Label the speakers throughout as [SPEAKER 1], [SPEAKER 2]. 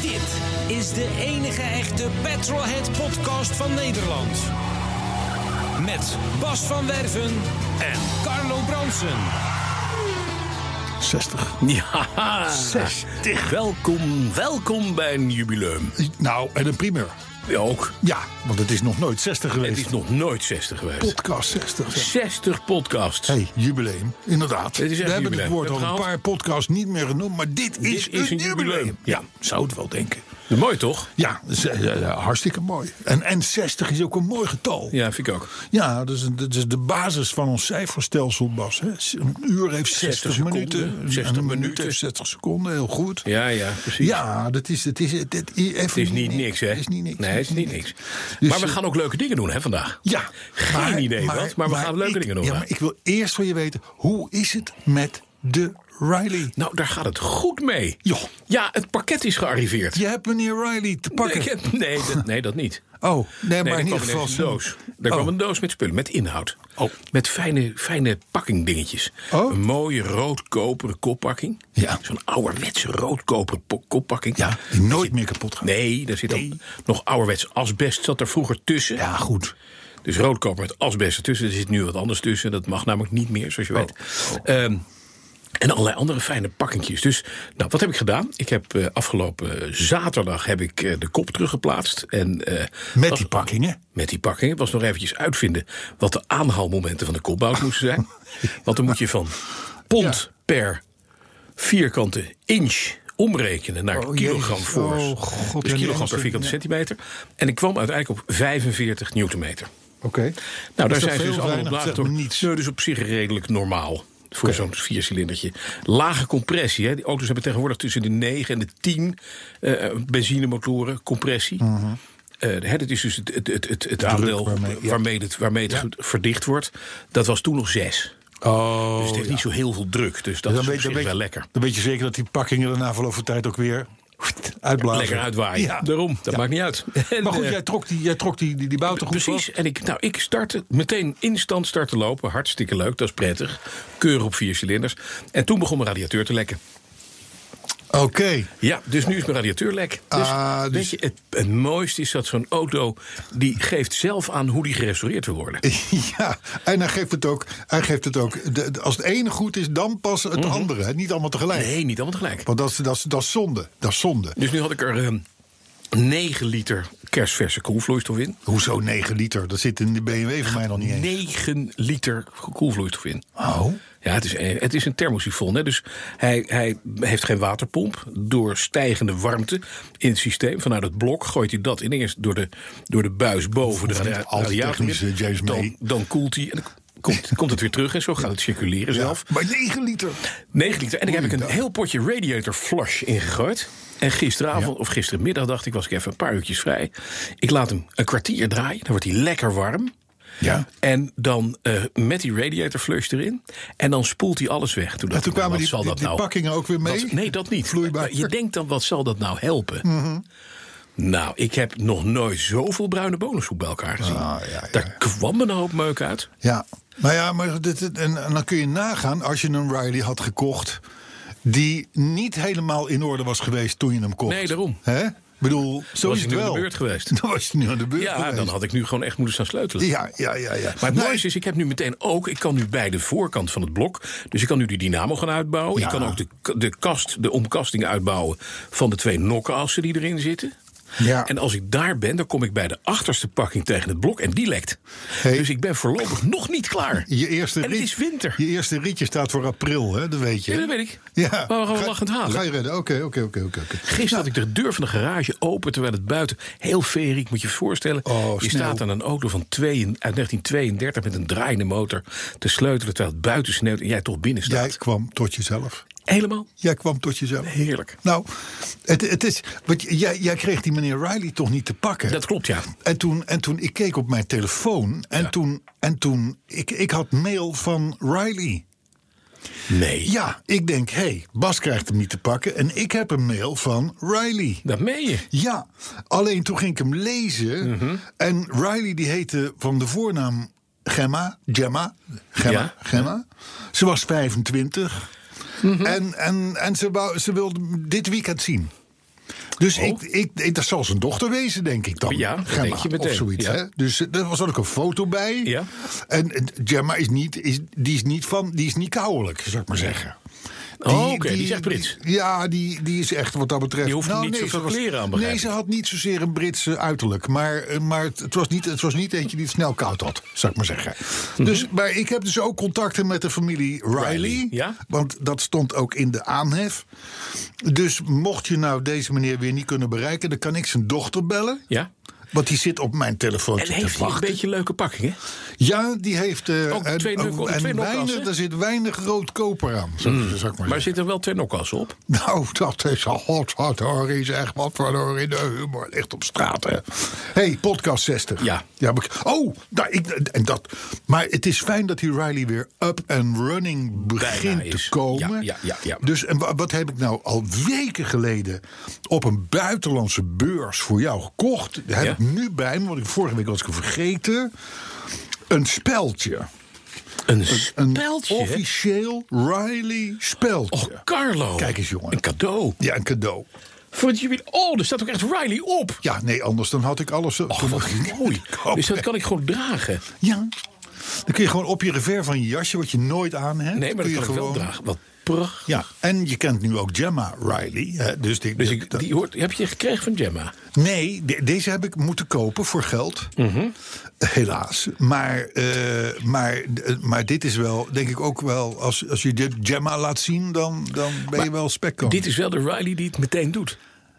[SPEAKER 1] Dit is de enige echte Petrolhead podcast van Nederland. Met Bas van Werven en Carlo Bronsen.
[SPEAKER 2] 60.
[SPEAKER 3] Nou Ja,
[SPEAKER 2] 60.
[SPEAKER 3] welkom, welkom bij een jubileum.
[SPEAKER 2] Nou, en een primeur.
[SPEAKER 3] Ja, ook.
[SPEAKER 2] Ja, want het is nog nooit 60 geweest.
[SPEAKER 3] Het is nog nooit 60 geweest.
[SPEAKER 2] podcast 60. zeg.
[SPEAKER 3] 60 podcasts.
[SPEAKER 2] Hey, jubileum. Inderdaad.
[SPEAKER 3] Het is echt
[SPEAKER 2] We hebben
[SPEAKER 3] jubileum.
[SPEAKER 2] het woord
[SPEAKER 3] We
[SPEAKER 2] al
[SPEAKER 3] hebben
[SPEAKER 2] een paar podcasts niet meer genoemd, maar dit, is, een
[SPEAKER 3] is een
[SPEAKER 2] jubileum.
[SPEAKER 3] jubileum.
[SPEAKER 2] Ja, zou het wel denken.
[SPEAKER 3] Mooi toch?
[SPEAKER 2] Ja, z- ja, ja, hartstikke mooi. En, en 60 is ook een mooi getal. Ja,
[SPEAKER 3] Ja, vind ik ook.
[SPEAKER 2] dat, is, dat dus is de basis van ons cijferstelsel, Bas. Hè. S- Een uur heeft 60,
[SPEAKER 3] 60 seconden.
[SPEAKER 2] minuten.
[SPEAKER 3] 60
[SPEAKER 2] En een minuut
[SPEAKER 3] minuten.
[SPEAKER 2] heeft 60 seconden, heel goed.
[SPEAKER 3] Ja, ja, precies.
[SPEAKER 2] Ja, dat is, dat is, dat even
[SPEAKER 3] Het is niet niks, hè?
[SPEAKER 2] Het is niet niks.
[SPEAKER 3] Nee, het is niet niks.
[SPEAKER 2] Dus,
[SPEAKER 3] maar we
[SPEAKER 2] eh,
[SPEAKER 3] gaan ook leuke dingen doen, hè, vandaag.
[SPEAKER 2] Ja.
[SPEAKER 3] Geen idee wat, maar we gaan leuke
[SPEAKER 2] ik-
[SPEAKER 3] dingen doen,
[SPEAKER 2] Ja,
[SPEAKER 3] hè?
[SPEAKER 2] maar ik wil eerst van je weten, hoe is het met de Riley?
[SPEAKER 3] Nou, daar gaat het goed mee.
[SPEAKER 2] Joh.
[SPEAKER 3] Ja, het pakket is gearriveerd.
[SPEAKER 2] Je hebt meneer Riley te pakken.
[SPEAKER 3] Nee, ik heb- nee, dat, nee, dat niet.
[SPEAKER 2] Oh, nee, maar
[SPEAKER 3] er
[SPEAKER 2] in ieder
[SPEAKER 3] kwam
[SPEAKER 2] geval...
[SPEAKER 3] ineens een doos. Er
[SPEAKER 2] Oh.
[SPEAKER 3] kwam een doos met spullen, met inhoud.
[SPEAKER 2] Oh.
[SPEAKER 3] Met fijne, fijne pakkingdingetjes.
[SPEAKER 2] Oh.
[SPEAKER 3] Een mooie rood-koperen koppakking.
[SPEAKER 2] Ja.
[SPEAKER 3] Zo'n ouderwetse rood-koperen po- koppakking.
[SPEAKER 2] Ja, die nooit meer kapot gaat.
[SPEAKER 3] Nee, daar zit
[SPEAKER 2] Nee.
[SPEAKER 3] ook nog ouderwets asbest. Zat er vroeger tussen.
[SPEAKER 2] Ja, goed.
[SPEAKER 3] Dus roodkoper met asbest ertussen. Er zit nu wat anders tussen. Dat mag namelijk niet meer, zoals je
[SPEAKER 2] Oh.
[SPEAKER 3] weet. Ehm, en allerlei andere fijne pakkentjes. Dus nou, wat heb ik gedaan? Ik heb eh, afgelopen zaterdag heb ik, eh, de kop teruggeplaatst. En, eh,
[SPEAKER 2] Met
[SPEAKER 3] was-
[SPEAKER 2] die pakkingen.
[SPEAKER 3] met die pakking. Het was nog eventjes uitvinden wat de aanhaalmomenten van de kopbouw moesten zijn. Want dan moet je van pond per vierkante inch omrekenen naar
[SPEAKER 2] Oh,
[SPEAKER 3] kilogram
[SPEAKER 2] Jezus.
[SPEAKER 3] voor.
[SPEAKER 2] Oh, God,
[SPEAKER 3] dus
[SPEAKER 2] en
[SPEAKER 3] kilogram
[SPEAKER 2] mensen,
[SPEAKER 3] per vierkante
[SPEAKER 2] ja.
[SPEAKER 3] centimeter. En ik kwam uiteindelijk op 45 newtonmeter.
[SPEAKER 2] Oké.
[SPEAKER 3] Nou, daar
[SPEAKER 2] dat
[SPEAKER 3] zijn ze
[SPEAKER 2] veel
[SPEAKER 3] dus allemaal op
[SPEAKER 2] weinig?
[SPEAKER 3] laag
[SPEAKER 2] Zegt
[SPEAKER 3] door.
[SPEAKER 2] me niets.
[SPEAKER 3] Nee, dus op zich redelijk normaal. Voor zo'n viercilindertje. Lage compressie. Hè. Die auto's hebben tegenwoordig tussen de 9 en de 10 eh, benzinemotoren compressie. Eh, hè, dat is dus het, het, het, het, het aandeel
[SPEAKER 2] Mhm. waarmee-
[SPEAKER 3] waarmee,
[SPEAKER 2] ja.
[SPEAKER 3] het, waarmee het goed verdicht wordt. Dat was toen nog 6.
[SPEAKER 2] Oh,
[SPEAKER 3] dus het heeft
[SPEAKER 2] ja.
[SPEAKER 3] niet zo heel veel druk. Dus dat
[SPEAKER 2] Dan
[SPEAKER 3] is op
[SPEAKER 2] weet- dan
[SPEAKER 3] zich
[SPEAKER 2] weet-
[SPEAKER 3] wel lekker.
[SPEAKER 2] Dan weet je zeker dat die pakkingen er na verloop van tijd ook weer uitblazen.
[SPEAKER 3] Lekker uitwaaien.
[SPEAKER 2] Ah, Ja.
[SPEAKER 3] Daarom, dat maakt niet uit. En,
[SPEAKER 2] Maar goed,
[SPEAKER 3] eh,
[SPEAKER 2] jij trok die, jij trok die, die, die bouten goed
[SPEAKER 3] Precies, en ik, nou, ik startte meteen instant starten lopen. Hartstikke leuk, dat is prettig. Keurig op vier cilinders. En toen begon mijn radiateur te lekken.
[SPEAKER 2] Oké.
[SPEAKER 3] Ja, dus nu is mijn radiateur lek. Dus,
[SPEAKER 2] Ah, dus-
[SPEAKER 3] Weet je, het, het mooiste is dat zo'n auto... die geeft zelf aan hoe die gerestaureerd wil worden.
[SPEAKER 2] Ja, en hij geeft het ook. Hij geeft het ook de- de- als het ene goed is, dan pas het andere. hè. Niet allemaal tegelijk.
[SPEAKER 3] Mhm. Nee, niet allemaal tegelijk.
[SPEAKER 2] Want dat is, dat, is, dat is zonde. Dat is zonde.
[SPEAKER 3] Dus nu had ik er ehm, 9 liter kersverse koelvloeistof in.
[SPEAKER 2] Hoezo 9 liter? Dat zit in de BMW van mij nog niet eens.
[SPEAKER 3] 9 liter koelvloeistof in.
[SPEAKER 2] Oh.
[SPEAKER 3] Ja, het is, een- het is een thermosifon. Hè? Dus hij, hij heeft geen waterpomp. Door stijgende warmte in het systeem vanuit het blok gooit hij dat in. Eerst door de, door de buis boven de
[SPEAKER 2] Hoeft niet
[SPEAKER 3] radia-
[SPEAKER 2] al te
[SPEAKER 3] radiator.
[SPEAKER 2] technisch, eh, James
[SPEAKER 3] dan,
[SPEAKER 2] May.
[SPEAKER 3] dan koelt hij. En dan komt, komt het weer terug. En zo gaat het circuleren zelf.
[SPEAKER 2] Maar 9 liter.
[SPEAKER 3] 9 liter. En daar heb ik een
[SPEAKER 2] Goeiedag.
[SPEAKER 3] heel potje radiator flush ingegooid. En gisteravond of gistermiddag dacht ik, was ik even een paar uurtjes vrij. Ik laat hem een kwartier draaien. Dan wordt hij lekker warm.
[SPEAKER 2] Ja.
[SPEAKER 3] En dan eh, met die radiator flush erin. En dan spoelt hij alles weg. Toen, dacht
[SPEAKER 2] toen
[SPEAKER 3] ik,
[SPEAKER 2] kwamen die-
[SPEAKER 3] wat zal
[SPEAKER 2] die-
[SPEAKER 3] dat
[SPEAKER 2] die
[SPEAKER 3] nou?
[SPEAKER 2] pakkingen ook weer mee?
[SPEAKER 3] Wat- nee, dat niet.
[SPEAKER 2] Vloeibaar. Mhm.
[SPEAKER 3] Je denkt dan, wat zal dat nou helpen? Nou, ik heb nog nooit zoveel bruine bonensoep bij elkaar gezien.
[SPEAKER 2] Ah, ja, ja,
[SPEAKER 3] Daar
[SPEAKER 2] ja.
[SPEAKER 3] kwam een hoop meuk uit.
[SPEAKER 2] Ja. Nou ja, maar dit, dit- en, en dan kun je nagaan als je een Riley had gekocht. die niet helemaal in orde was geweest toen je hem kocht.
[SPEAKER 3] Nee, daarom.
[SPEAKER 2] Hè? Ik bedoel, zo
[SPEAKER 3] was
[SPEAKER 2] is
[SPEAKER 3] je
[SPEAKER 2] het
[SPEAKER 3] nu aan
[SPEAKER 2] wel.
[SPEAKER 3] de beurt geweest.
[SPEAKER 2] Dan was je nu aan de beurt
[SPEAKER 3] Ja,
[SPEAKER 2] geweest.
[SPEAKER 3] dan had ik nu gewoon echt moeten staan sleutelen.
[SPEAKER 2] Ja, ja, ja, ja.
[SPEAKER 3] Maar het
[SPEAKER 2] Nee,
[SPEAKER 3] mooiste is, ik heb nu meteen ook... ik kan nu bij de voorkant van het blok... dus ik kan nu die dynamo gaan uitbouwen.
[SPEAKER 2] Ja.
[SPEAKER 3] Ik kan ook de, de kast, de omkasting uitbouwen... van de twee nokkenassen die erin zitten.
[SPEAKER 2] Ja.
[SPEAKER 3] En als ik daar ben, dan kom ik bij de achterste pakking tegen het blok... en die lekt.
[SPEAKER 2] Hey.
[SPEAKER 3] Dus ik ben voorlopig nog niet klaar.
[SPEAKER 2] Je eerste
[SPEAKER 3] en het
[SPEAKER 2] riet-
[SPEAKER 3] is winter.
[SPEAKER 2] Je eerste rietje staat voor april, hè? dat weet je.
[SPEAKER 3] Ja, dat weet ik.
[SPEAKER 2] Ja.
[SPEAKER 3] Maar we gaan
[SPEAKER 2] Ga-
[SPEAKER 3] lachend halen.
[SPEAKER 2] Ga je redden, oké, oké, oké. oké. oké.
[SPEAKER 3] Gisteren had ik de deur van de garage open, terwijl het buiten heel feeriek, moet je je voorstellen.
[SPEAKER 2] Oh,
[SPEAKER 3] je
[SPEAKER 2] sneeuw.
[SPEAKER 3] staat aan een auto van twee, uit 1932 met een draaiende motor te sleutelen, terwijl het buiten sneeuwt en jij toch binnen
[SPEAKER 2] Jij
[SPEAKER 3] staat.
[SPEAKER 2] kwam tot jezelf.
[SPEAKER 3] Helemaal
[SPEAKER 2] Jij kwam tot jezelf.
[SPEAKER 3] heerlijk.
[SPEAKER 2] Nou, het, het is, want j- jij, jij kreeg die meneer Riley toch niet te pakken?
[SPEAKER 3] Dat klopt, ja.
[SPEAKER 2] En toen, en toen ik keek op mijn telefoon en
[SPEAKER 3] Ja.
[SPEAKER 2] toen, en toen ik, ik had mail van Riley.
[SPEAKER 3] Nee.
[SPEAKER 2] Ja, ik denk, hé, hey, Bas krijgt hem niet te pakken en ik heb een mail van Riley.
[SPEAKER 3] Dat meen je.
[SPEAKER 2] Ja, alleen toen ging ik hem lezen
[SPEAKER 3] Mhm.
[SPEAKER 2] en Riley die heette van de voornaam Gemma, Gemma, Gemma,
[SPEAKER 3] Ja.
[SPEAKER 2] Gemma. Ze was 25
[SPEAKER 3] Mhm.
[SPEAKER 2] en, en, en ze, wou, ze wilde hem dit weekend zien. Dus
[SPEAKER 3] Oh.
[SPEAKER 2] ik, ik, ik- dat zal zijn dochter wezen, denk ik dan.
[SPEAKER 3] Ja, dat
[SPEAKER 2] Gemma
[SPEAKER 3] denk je meteen,
[SPEAKER 2] of zoiets.
[SPEAKER 3] ja.
[SPEAKER 2] Hè? Dus eh, er was ook een foto bij.
[SPEAKER 3] Ja.
[SPEAKER 2] En eh, Gemma is niet, is, die is niet van, die is niet kouwelijk, zou ik maar zeggen.
[SPEAKER 3] Oh, oké, die is echt Brits.
[SPEAKER 2] die- ja, die, die is echt wat dat betreft.
[SPEAKER 3] Die hoeft niet
[SPEAKER 2] Nou, nee,
[SPEAKER 3] zoveel
[SPEAKER 2] ze was-
[SPEAKER 3] kleren aan, begrijp
[SPEAKER 2] Nee,
[SPEAKER 3] ik.
[SPEAKER 2] ze had niet zozeer een Britse uiterlijk. Maar, eh, maar het, het was niet, het was niet eentje die het snel koud had, zou ik maar zeggen.
[SPEAKER 3] Mhm.
[SPEAKER 2] Dus, maar ik heb dus ook contacten met de familie Riley.
[SPEAKER 3] Riley, ja.
[SPEAKER 2] Want dat stond ook in de aanhef. Dus mocht je nou deze meneer weer niet kunnen bereiken... dan kan ik zijn dochter bellen.
[SPEAKER 3] Ja.
[SPEAKER 2] Want die zit op mijn telefoontje
[SPEAKER 3] En
[SPEAKER 2] te
[SPEAKER 3] heeft hij een
[SPEAKER 2] wachten.
[SPEAKER 3] beetje leuke pakking, hè?
[SPEAKER 2] Ja, die heeft... eh,
[SPEAKER 3] Ook
[SPEAKER 2] en,
[SPEAKER 3] twee nukken-
[SPEAKER 2] en
[SPEAKER 3] twee nokka's,
[SPEAKER 2] weinig,
[SPEAKER 3] hè?
[SPEAKER 2] daar zit weinig rood koper aan, zou zou ik maar zeggen.
[SPEAKER 3] Maar er zitten wel twee nokkassen op.
[SPEAKER 2] Nou, dat is al hot, hot, hoor. Is echt wat voor hoor. in De humor ligt op straat, hè. hey, podcast 60.
[SPEAKER 3] Ja.
[SPEAKER 2] ja maar ik- oh, nou, ik, en dat, maar het is fijn dat die Riley weer up and running begint
[SPEAKER 3] is.
[SPEAKER 2] te komen.
[SPEAKER 3] Ja, ja, ja, ja.
[SPEAKER 2] Dus en wa- wat heb ik nou al weken geleden op een buitenlandse beurs voor jou gekocht? Dat heb
[SPEAKER 3] Ja.
[SPEAKER 2] ik nu bij me, want ik, vorige week was ik het vergeten. Een speldje.
[SPEAKER 3] Een
[SPEAKER 2] Een
[SPEAKER 3] speldje. hè?
[SPEAKER 2] officieel Riley speldje.
[SPEAKER 3] Oh, Carlo.
[SPEAKER 2] Kijk eens, jongen.
[SPEAKER 3] Een cadeau.
[SPEAKER 2] ja, een cadeau.
[SPEAKER 3] Voor het jubileum. Oh, er staat ook echt Riley op.
[SPEAKER 2] Ja, nee, anders dan had ik alles. eh, toen had ik-
[SPEAKER 3] Mooi.
[SPEAKER 2] Kopen.
[SPEAKER 3] Dus dat kan ik gewoon dragen.
[SPEAKER 2] Ja. Dan kun je gewoon op je revers van je jasje, wat je nooit aan hebt.
[SPEAKER 3] Nee, maar
[SPEAKER 2] kun
[SPEAKER 3] dat
[SPEAKER 2] je
[SPEAKER 3] kan ik wel
[SPEAKER 2] gewoon-
[SPEAKER 3] dragen. Wat prachtig.
[SPEAKER 2] Ja, en je kent nu ook Gemma Riley. Hè, dus die,
[SPEAKER 3] Dus ik, die hoort, heb je gekregen van Gemma?
[SPEAKER 2] Nee, de- deze heb ik moeten kopen voor geld.
[SPEAKER 3] Mhm.
[SPEAKER 2] Helaas. Maar, eh, maar, eh, maar dit is wel, denk ik ook wel... Als, als je dit Gemma laat zien, dan, dan ben je wel spekkoop.
[SPEAKER 3] Dit is wel de Riley die het meteen doet.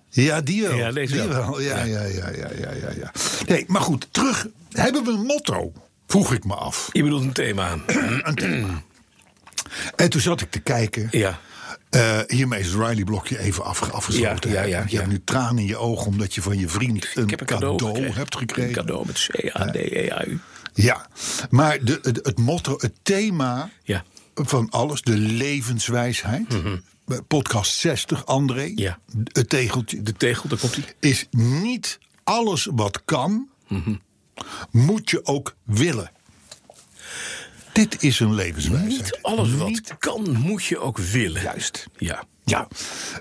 [SPEAKER 2] Ja, die wel.
[SPEAKER 3] Ja, deze
[SPEAKER 2] die
[SPEAKER 3] wel.
[SPEAKER 2] wel. Ja, ja, ja, ja, ja, ja, ja. Nee, maar goed, terug. Hebben we een motto? Vroeg ik me af.
[SPEAKER 3] Je bedoelt een thema aan.
[SPEAKER 2] een thema. En toen zat ik te kijken.
[SPEAKER 3] Ja.
[SPEAKER 2] Eh, hiermee is het Riley-blokje even afge afgesloten.
[SPEAKER 3] Ja, ja, ja,
[SPEAKER 2] je
[SPEAKER 3] ja.
[SPEAKER 2] hebt nu tranen in je ogen omdat je van je vriend een,
[SPEAKER 3] Ik heb een cadeau, gekregen.
[SPEAKER 2] hebt gekregen.
[SPEAKER 3] Een cadeau met C-A-D-E-A-U.
[SPEAKER 2] Ja, maar de, het, het motto, het thema
[SPEAKER 3] Ja. Mhm.
[SPEAKER 2] van alles, de levenswijsheid. Podcast 60, André.
[SPEAKER 3] Ja.
[SPEAKER 2] Het tegeltje.
[SPEAKER 3] De tegel, daar komt hij.
[SPEAKER 2] is niet alles wat kan,
[SPEAKER 3] Mhm.
[SPEAKER 2] moet je ook willen. Dit is een levenswijsheid.
[SPEAKER 3] Niet alles wat
[SPEAKER 2] Niet-
[SPEAKER 3] kan, moet je ook willen.
[SPEAKER 2] Juist.
[SPEAKER 3] Ja.
[SPEAKER 2] Ja,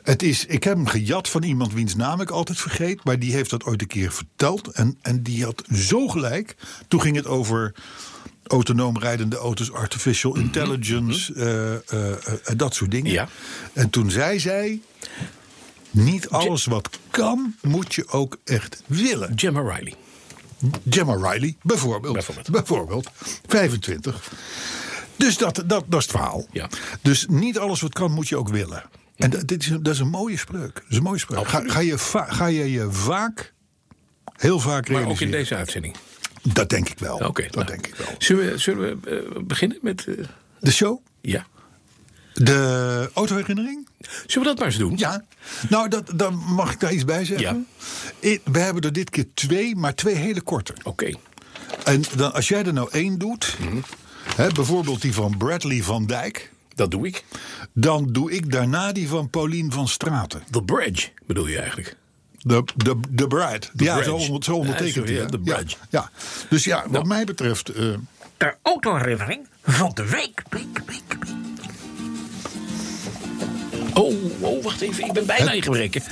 [SPEAKER 2] het is, ik heb hem gejat van iemand wiens naam ik altijd vergeet. Maar die heeft dat ooit een keer verteld. En, en die had zo gelijk. Toen ging het over autonoom rijdende auto's, artificial intelligence, eh, eh, eh, eh, dat soort dingen.
[SPEAKER 3] Mhm. Ja.
[SPEAKER 2] En toen zei zij, niet alles wat kan, moet je ook echt willen.
[SPEAKER 3] Gemma Riley.
[SPEAKER 2] Gemma Riley, bijvoorbeeld.
[SPEAKER 3] Bijvoorbeeld.
[SPEAKER 2] Bijvoorbeeld, 25. Dus dat, dat, dat is het verhaal.
[SPEAKER 3] Ja.
[SPEAKER 2] Dus niet alles wat kan, moet je ook willen. En dat, dit is, een- dat is een mooie spreuk. Dat is een mooie spreuk. Ga, ga, je va- ga je je vaak, heel vaak
[SPEAKER 3] Maar ook in
[SPEAKER 2] realiseren.
[SPEAKER 3] deze uitzending.
[SPEAKER 2] Dat denk ik wel.
[SPEAKER 3] Oké.
[SPEAKER 2] dat
[SPEAKER 3] nou.
[SPEAKER 2] denk ik wel.
[SPEAKER 3] Zullen we, zullen we eh, beginnen met... eh,
[SPEAKER 2] De show?
[SPEAKER 3] ja.
[SPEAKER 2] De autoherinnering?
[SPEAKER 3] Zullen we dat maar eens doen?
[SPEAKER 2] Ja. Nou, dat, dan mag ik daar iets bij zeggen. I- We hebben er dit keer twee, maar twee hele korte.
[SPEAKER 3] Oké.
[SPEAKER 2] En dan, als jij er nou één doet, hè, bijvoorbeeld die van Bradley van Dijk,
[SPEAKER 3] Dat doe ik.
[SPEAKER 2] dan doe ik daarna die van Paulien van Straten.
[SPEAKER 3] The Bridge bedoel je eigenlijk.
[SPEAKER 2] De, de, de Bride. ja,
[SPEAKER 3] Bridge.
[SPEAKER 2] zo, onder- zo
[SPEAKER 3] Ja,
[SPEAKER 2] ondertekent
[SPEAKER 3] sorry,
[SPEAKER 2] hij,
[SPEAKER 3] ja,
[SPEAKER 2] hè?
[SPEAKER 3] de Nou.
[SPEAKER 2] ja,
[SPEAKER 3] Bridge.
[SPEAKER 2] ja. Dus ja, wat mij betreft. eh,
[SPEAKER 4] De autoherinnering van de week. Week, week, week.
[SPEAKER 3] Oh, oh, wacht even. Ik ben bijna ingebreken.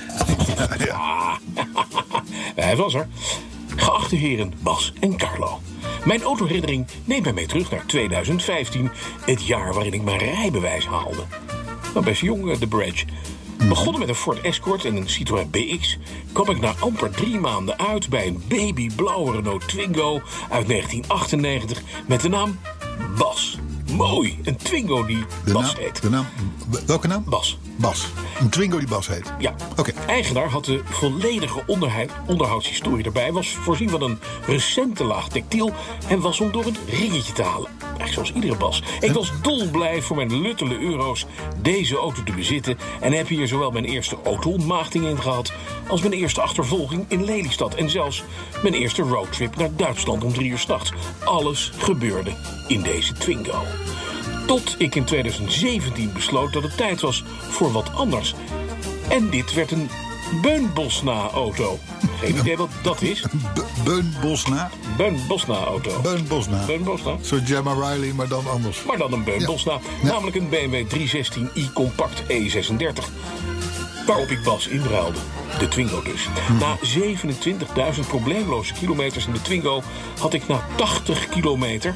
[SPEAKER 3] Hij was er. Geachte heren Bas en Carlo. Mijn autoherinnering neemt mij mee terug naar 2015. Het jaar waarin ik mijn rijbewijs haalde. Nou, best jong, eh, de Bridge. Begonnen met een Ford Escort en een Citroën BX... kwam ik na amper drie maanden uit bij een babyblauwe Renault Twingo uit 1998... met de naam Bas. Mooi, een Twingo die
[SPEAKER 2] de,
[SPEAKER 3] Bas
[SPEAKER 2] naam,
[SPEAKER 3] heet.
[SPEAKER 2] de naam. Welke naam?
[SPEAKER 3] Bas.
[SPEAKER 2] Bas. Een Twingo die Bas heet.
[SPEAKER 3] Ja.
[SPEAKER 2] Oké.
[SPEAKER 3] Eigenaar had de volledige onderhoud, onderhoudshistorie erbij. Was voorzien van een recente laag textiel. En was om door het ringetje te halen. Echt zoals iedere bas. Ik was dolblij voor mijn luttele euro's deze auto te bezitten. En heb hier zowel mijn eerste auto-ontmaagding in gehad. als mijn eerste achtervolging in Lelystad. En zelfs mijn eerste roadtrip naar Duitsland om drie uur s'nachts. Alles gebeurde in deze Twingo. Tot ik in 2017 besloot dat het tijd was voor wat anders. En dit werd een Beunbosna-auto. Geen idee wat dat is.
[SPEAKER 2] Be- Beun Bosna.
[SPEAKER 3] Beunbosna-auto.
[SPEAKER 2] Beun Bosna.
[SPEAKER 3] Beunbosna.
[SPEAKER 2] Zo Gemma Riley, maar dan anders.
[SPEAKER 3] Maar dan een Beunbosna.
[SPEAKER 2] Ja.
[SPEAKER 3] Namelijk een BMW 316i Compact E36. Waarop ik Bas inruilde. De Twingo dus.
[SPEAKER 2] Hm.
[SPEAKER 3] Na 27.000 probleemloze kilometers in de Twingo... had ik na 80 kilometer...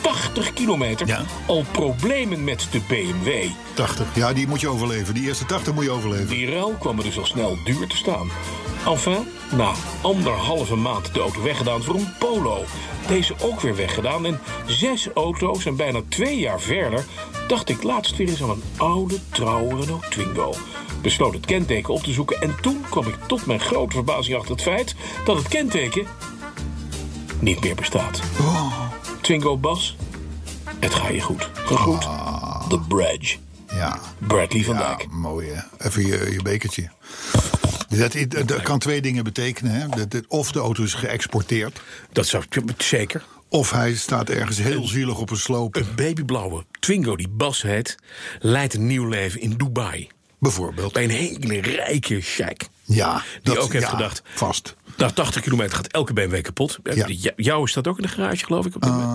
[SPEAKER 3] 80 kilometer...
[SPEAKER 2] Ja.
[SPEAKER 3] al problemen met de BMW.
[SPEAKER 2] 80. Ja, die moet je overleven. Die eerste 80 moet je overleven.
[SPEAKER 3] Die ruil kwam er dus al snel duur te staan. Enfin, na anderhalve maand de auto weggedaan voor een Polo. Deze ook weer weggedaan en zes auto's en bijna twee jaar verder... dacht ik laatst weer eens aan een oude, trouwe Renault Twingo. Besloot het kenteken op te zoeken en toen kwam ik tot mijn grote verbazing achter het feit... dat het kenteken niet meer bestaat. Twingo Bas, het ga je goed. Gegroet, The Bradge.
[SPEAKER 2] Ja.
[SPEAKER 3] Bradley van
[SPEAKER 2] Ja,
[SPEAKER 3] Dijk.
[SPEAKER 2] Nou, mooi hè. Even je, je bekertje. Dus Dat, i- dat kan twee dingen betekenen. Hè. Dat, dat- of de auto is geëxporteerd.
[SPEAKER 3] Dat zou ik zeker...
[SPEAKER 2] Of hij staat ergens heel zielig op een sloop.
[SPEAKER 3] Een babyblauwe Twingo die Bas heet, leidt een nieuw leven in Dubai.
[SPEAKER 2] Bijvoorbeeld.
[SPEAKER 3] Bij een hele rijke sheik.
[SPEAKER 2] Ja.
[SPEAKER 3] Die ook heeft
[SPEAKER 2] ja,
[SPEAKER 3] gedacht.
[SPEAKER 2] Vast.
[SPEAKER 3] Na 80 kilometer gaat elke BMW kapot. Eh,
[SPEAKER 2] Ja. Ah,
[SPEAKER 3] Ja. Jouw staat ook in de garage, geloof ik. Op dit moment.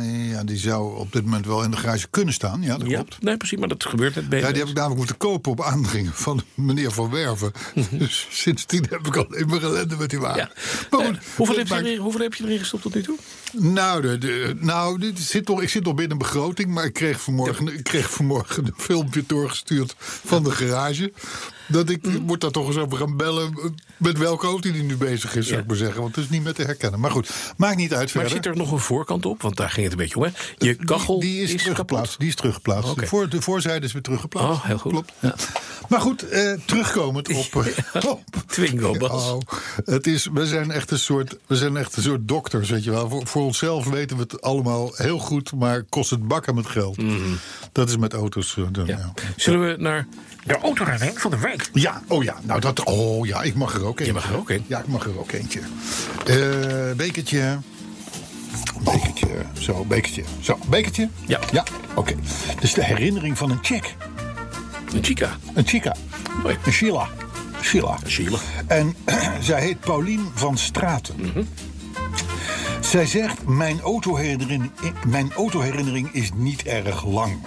[SPEAKER 2] Eh, ja, die zou op dit moment wel in de garage kunnen staan. Ja, dat
[SPEAKER 3] ja.
[SPEAKER 2] klopt.
[SPEAKER 3] Nee, precies, maar dat gebeurt net bij.
[SPEAKER 2] Ja, die heb ik namelijk moeten kopen op aandringen van meneer Van Werven. dus sindsdien heb ik alleen maar ellende met die wagen.
[SPEAKER 3] Ja.
[SPEAKER 2] Ah. Maar
[SPEAKER 3] Eh,
[SPEAKER 2] goed,
[SPEAKER 3] hoeveel,
[SPEAKER 2] dit
[SPEAKER 3] heb je
[SPEAKER 2] maakt-
[SPEAKER 3] erin, hoeveel heb je erin gestopt tot nu toe?
[SPEAKER 2] Nou, de, de- nou dit zit nog, ik zit nog binnen begroting, maar ik kreeg vanmorgen, ik kreeg vanmorgen een filmpje doorgestuurd van de garage. Dat ik
[SPEAKER 3] Mhm.
[SPEAKER 2] moet daar toch eens over gaan bellen eh, met welke auto die nu bezig is, zou ik maar zeggen. Want het is niet meer te herkennen. Maar goed, maakt niet uit
[SPEAKER 3] Maar
[SPEAKER 2] verder.
[SPEAKER 3] zit er nog een voorkant op? Want daar ging het een beetje om. Hè? Je kachel
[SPEAKER 2] die, die is, teruggeplaatst.
[SPEAKER 3] kapot.
[SPEAKER 2] Die is teruggeplaatst.
[SPEAKER 3] Oké.
[SPEAKER 2] De, voor, de voorzijde is weer teruggeplaatst.
[SPEAKER 3] Oh, heel goed.
[SPEAKER 2] Klopt.
[SPEAKER 3] Ja.
[SPEAKER 2] Maar goed, eh, terugkomend op, eh, op
[SPEAKER 3] Twingo, Bas.
[SPEAKER 2] Oh, het is, we zijn echt een soort, we zijn echt een soort dokters, weet je wel. Voor, voor onszelf weten we het allemaal heel goed, maar kost het bakken met geld. Dat is met auto's. eh, dan, ja.
[SPEAKER 3] Mhm. Ja. Zullen we naar...
[SPEAKER 4] De autoherinnering van de week.
[SPEAKER 2] Ja, oh ja, nou dat, oh ja, ik mag er ook eentje.
[SPEAKER 3] mag er ook een.
[SPEAKER 2] Ja, ik mag er ook eentje. Eh bekertje. Bekertje, zo, bekertje. Zo, bekertje?
[SPEAKER 3] Ja.
[SPEAKER 2] Ja, oké. Dus de herinnering van een chick.
[SPEAKER 3] Een chica.
[SPEAKER 2] Een chica.
[SPEAKER 3] Mooi.
[SPEAKER 2] Een Sheila. Sheila.
[SPEAKER 3] Sheila.
[SPEAKER 2] En zij heet Paulien van Straten.
[SPEAKER 3] Mhm.
[SPEAKER 2] Zij zegt, mijn autoherinnering, mijn autoherinnering is niet erg lang.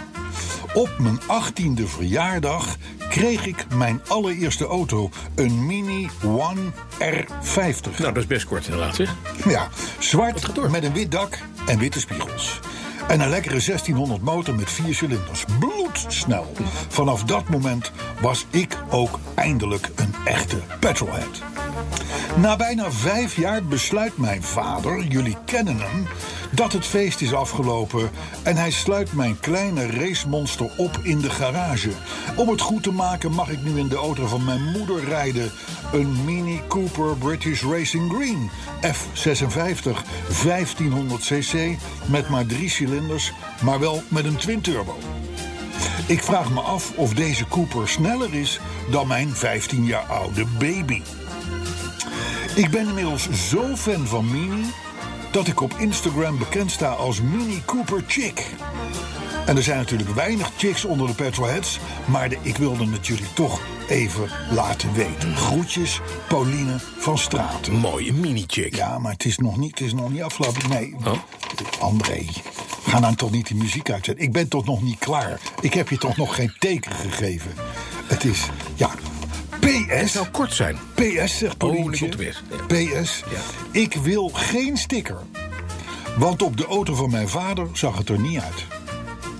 [SPEAKER 2] Op mijn 18e verjaardag kreeg ik mijn allereerste auto. Een Mini One R50.
[SPEAKER 3] Nou, dat is best kort inderdaad. Zeg.
[SPEAKER 2] Ja, zwart met een wit dak en witte spiegels. En een lekkere 1600 motor met vier cilinders. Bloedsnel. Vanaf dat moment was ik ook eindelijk een echte petrolhead. Na bijna vijf jaar besluit mijn vader, jullie kennen hem, dat het feest is afgelopen en hij sluit mijn kleine racemonster op in de garage. Om het goed te maken mag ik nu in de auto van mijn moeder rijden. Een Mini Cooper British Racing Green F56 1500cc met maar drie cilinders, maar wel met een twin-turbo. Ik vraag me af of deze Cooper sneller is dan mijn 15 jaar oude baby. Ik ben inmiddels zo fan van Mini dat ik op Instagram bekend sta als Mini Cooper Chick. En er zijn natuurlijk weinig chicks onder de petrolheads, maar de- ik wilde het jullie toch even laten weten. Groetjes, Pauline van Straten.
[SPEAKER 3] Mooie mini-chick.
[SPEAKER 2] Ja, maar het is nog niet, het is nog niet afgelopen. Nee,
[SPEAKER 3] Oh.
[SPEAKER 2] André, ga nou toch niet die muziek uitzetten. Ik ben toch nog niet klaar. Ik heb je toch nog geen teken gegeven. Het is, ja, PS.
[SPEAKER 3] Zou kort zijn.
[SPEAKER 2] PS, zegt Paulientje.
[SPEAKER 3] niks op de weg.
[SPEAKER 2] PS, ik wil geen sticker. Want op de auto van mijn vader zag het er niet uit.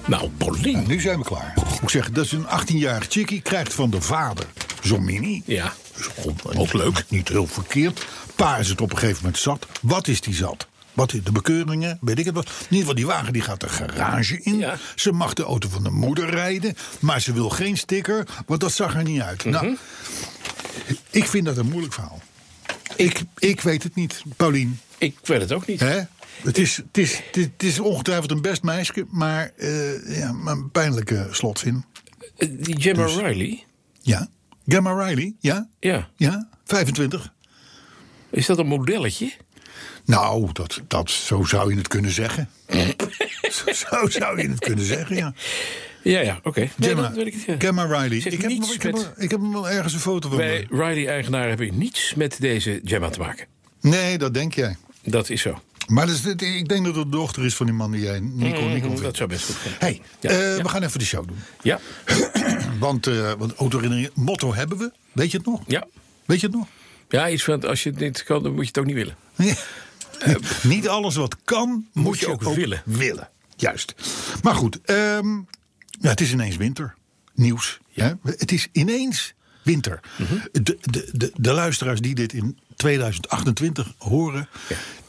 [SPEAKER 3] Nou, Pauline.
[SPEAKER 2] En nu zijn we klaar. Ik zeg, dat is een 18-jarig chickie, krijgt van de vader zo'n mini. Dus,
[SPEAKER 3] Ja.
[SPEAKER 2] Is gewoon- Niet heel verkeerd. Pa is het op een gegeven moment zat. Wat is die zat? Wat, de bekeuringen, weet ik het wat. In ieder geval, die wagen die gaat de garage in.
[SPEAKER 3] Ja.
[SPEAKER 2] Ze mag de auto van de moeder rijden. Maar ze wil geen sticker, want dat zag er niet uit.
[SPEAKER 3] Mhm.
[SPEAKER 2] Nou, ik vind dat een moeilijk verhaal. Ik, ik weet het niet, Paulien.
[SPEAKER 3] Ik weet het ook niet.
[SPEAKER 2] Hè? Het, is, het, is, het, is, het is ongetwijfeld een best meisje, maar eh, ja, maar een pijnlijke slotzin.
[SPEAKER 3] Eh, Die Gemma
[SPEAKER 2] Dus-
[SPEAKER 3] Riley,
[SPEAKER 2] Ja. Gamma Riley, ja?
[SPEAKER 3] ja.
[SPEAKER 2] Ja, 25.
[SPEAKER 3] Is dat een modelletje?
[SPEAKER 2] Nou, dat, dat, zo zou je het kunnen zeggen. zo, zo zou je het kunnen zeggen, ja.
[SPEAKER 3] Ja, ja, oké. Nee,
[SPEAKER 2] Gemma,
[SPEAKER 3] dat weet ik niet, ja.
[SPEAKER 2] Gemma Riley.
[SPEAKER 3] Zegt
[SPEAKER 2] Ik heb, hem,
[SPEAKER 3] niets
[SPEAKER 2] ik, heb,
[SPEAKER 3] met-
[SPEAKER 2] hem- ik heb hem wel ergens een foto van.
[SPEAKER 3] Bij Riley-eigenaar heb ik niets met deze Gemma te maken.
[SPEAKER 2] Nee, dat denk jij.
[SPEAKER 3] Dat is zo.
[SPEAKER 2] Maar dat is, ik denk dat het de dochter is van die man die jij Nico Nico vindt.
[SPEAKER 3] oh, Dat zou best goed kunnen.
[SPEAKER 2] hey,
[SPEAKER 3] Mm. Ja,
[SPEAKER 2] eh,
[SPEAKER 3] ja.
[SPEAKER 2] we gaan even de show doen.
[SPEAKER 3] Ja,
[SPEAKER 2] Want, eh want autoherinnering, motto hebben we. Weet je het nog?
[SPEAKER 3] ja.
[SPEAKER 2] Weet je het nog?
[SPEAKER 3] ja iets van, als je het niet kan, dan moet je het ook niet willen.
[SPEAKER 2] Nee. Niet alles wat kan, moet,
[SPEAKER 3] Eh, je ook willen.
[SPEAKER 2] Juist. Maar goed, ehm, ja, het is ineens winter. Nieuws. Hè? Het is ineens winter.
[SPEAKER 3] Mhm.
[SPEAKER 2] de, de, de, de luisteraars die dit in 2028 horen.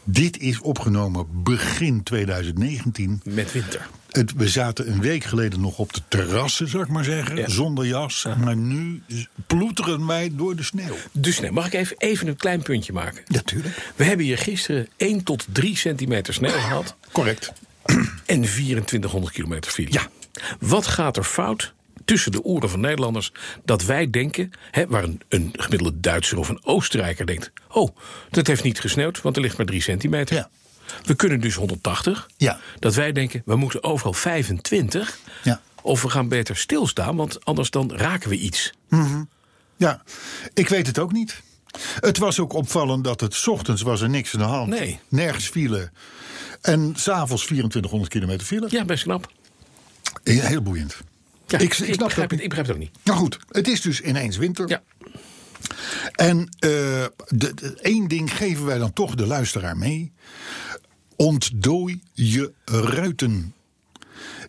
[SPEAKER 2] Dit is opgenomen begin 2019.
[SPEAKER 3] Met winter.
[SPEAKER 2] Het, we zaten een week geleden nog op de terrassen, zou ik maar zeggen.
[SPEAKER 3] Ja.
[SPEAKER 2] Zonder jas. Maar nu ploeteren wij door de sneeuw.
[SPEAKER 3] Dus nee, mag ik even, even een klein puntje maken?
[SPEAKER 2] Natuurlijk.
[SPEAKER 3] We hebben hier gisteren 1 tot 3 centimeter sneeuw gehad.
[SPEAKER 2] Correct.
[SPEAKER 3] En 2400 kilometer file.
[SPEAKER 2] Ja.
[SPEAKER 3] Wat gaat er fout tussen de oren van Nederlanders dat wij denken, hè, waar een, een gemiddelde Duitser of een Oostenrijker denkt: oh, dat heeft niet gesneeuwd, want er ligt maar 3 centimeter.
[SPEAKER 2] Ja.
[SPEAKER 3] We kunnen dus 180.
[SPEAKER 2] Ja.
[SPEAKER 3] Dat wij denken, we moeten overal 25.
[SPEAKER 2] Ja.
[SPEAKER 3] Of we gaan beter stilstaan, want anders dan raken we iets.
[SPEAKER 2] Ja, ik weet het ook niet. Het was ook opvallend dat het 's ochtends was er niks aan de hand.
[SPEAKER 3] Nee.
[SPEAKER 2] Nergens file. En s'avonds 2400 kilometer file.
[SPEAKER 3] Ja, best knap.
[SPEAKER 2] Heel boeiend.
[SPEAKER 3] Ja,
[SPEAKER 2] ik, ik snap
[SPEAKER 3] begrijp
[SPEAKER 2] dat
[SPEAKER 3] het,
[SPEAKER 2] niet.
[SPEAKER 3] ik begrijp het ook niet.
[SPEAKER 2] Nou goed, het is dus ineens winter.
[SPEAKER 3] Ja.
[SPEAKER 2] En eh, de, de- één ding geven wij dan toch de luisteraar mee. Ontdooi je ruiten.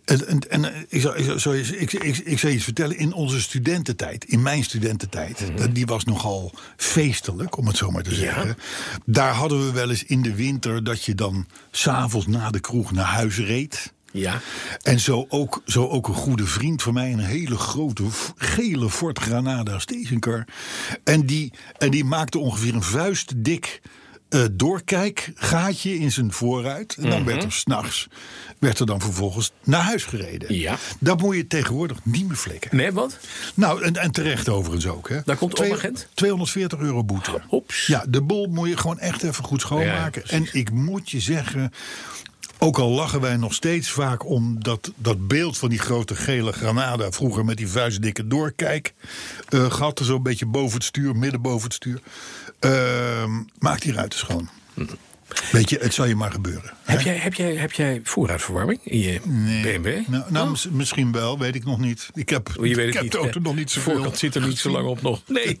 [SPEAKER 2] En, en, en eh, ik, zal, ik, zal- zal je- ik, ik, ik zal je iets vertellen. In onze studententijd, in mijn studententijd... dat- die was nogal feestelijk, om het zo maar te zeggen. Daar hadden we wel eens in de winter... dat je dan s'avonds na de kroeg naar huis reed...
[SPEAKER 3] Ja.
[SPEAKER 2] En zo ook, zo ook een goede vriend van mij, een hele grote v- gele Ford Granada stationcar. En die, en die maakte ongeveer een vuist dik eh, doorkijkgaatje in zijn voorruit. En dan werd er s'nachts, werd er dan vervolgens naar huis gereden.
[SPEAKER 3] Ja.
[SPEAKER 2] Dat moet je tegenwoordig niet meer flikken.
[SPEAKER 3] Nee, wat?
[SPEAKER 2] Nou, en, en terecht overigens ook. Hè.
[SPEAKER 3] Daar komt
[SPEAKER 2] Twee-
[SPEAKER 3] opagent.
[SPEAKER 2] 240 euro boete.
[SPEAKER 3] Hops.
[SPEAKER 2] Ja, de boel moet je gewoon echt even goed schoonmaken.
[SPEAKER 3] Ja,
[SPEAKER 2] en ik moet je zeggen, ook al lachen wij nog steeds vaak om dat, dat beeld van die grote gele granada. Vroeger met die vuistdikke doorkijk. eh gatten zo'n beetje boven het stuur, midden boven het stuur. Ehm, maak die ruiten schoon.
[SPEAKER 3] Mhm.
[SPEAKER 2] Weet je, het zal je maar gebeuren.
[SPEAKER 3] Heb jij, heb, jij, heb jij voorraadverwarming in je BMW?
[SPEAKER 2] Nou, nou, mis- misschien wel, weet ik nog niet. Ik heb,
[SPEAKER 3] Oh, Je Oh. weet
[SPEAKER 2] ik
[SPEAKER 3] het
[SPEAKER 2] heb
[SPEAKER 3] niet.
[SPEAKER 2] de auto
[SPEAKER 3] hè?
[SPEAKER 2] nog niet
[SPEAKER 3] De
[SPEAKER 2] zoveel.
[SPEAKER 3] voorkant zit er niet zo lang op nog. Nee,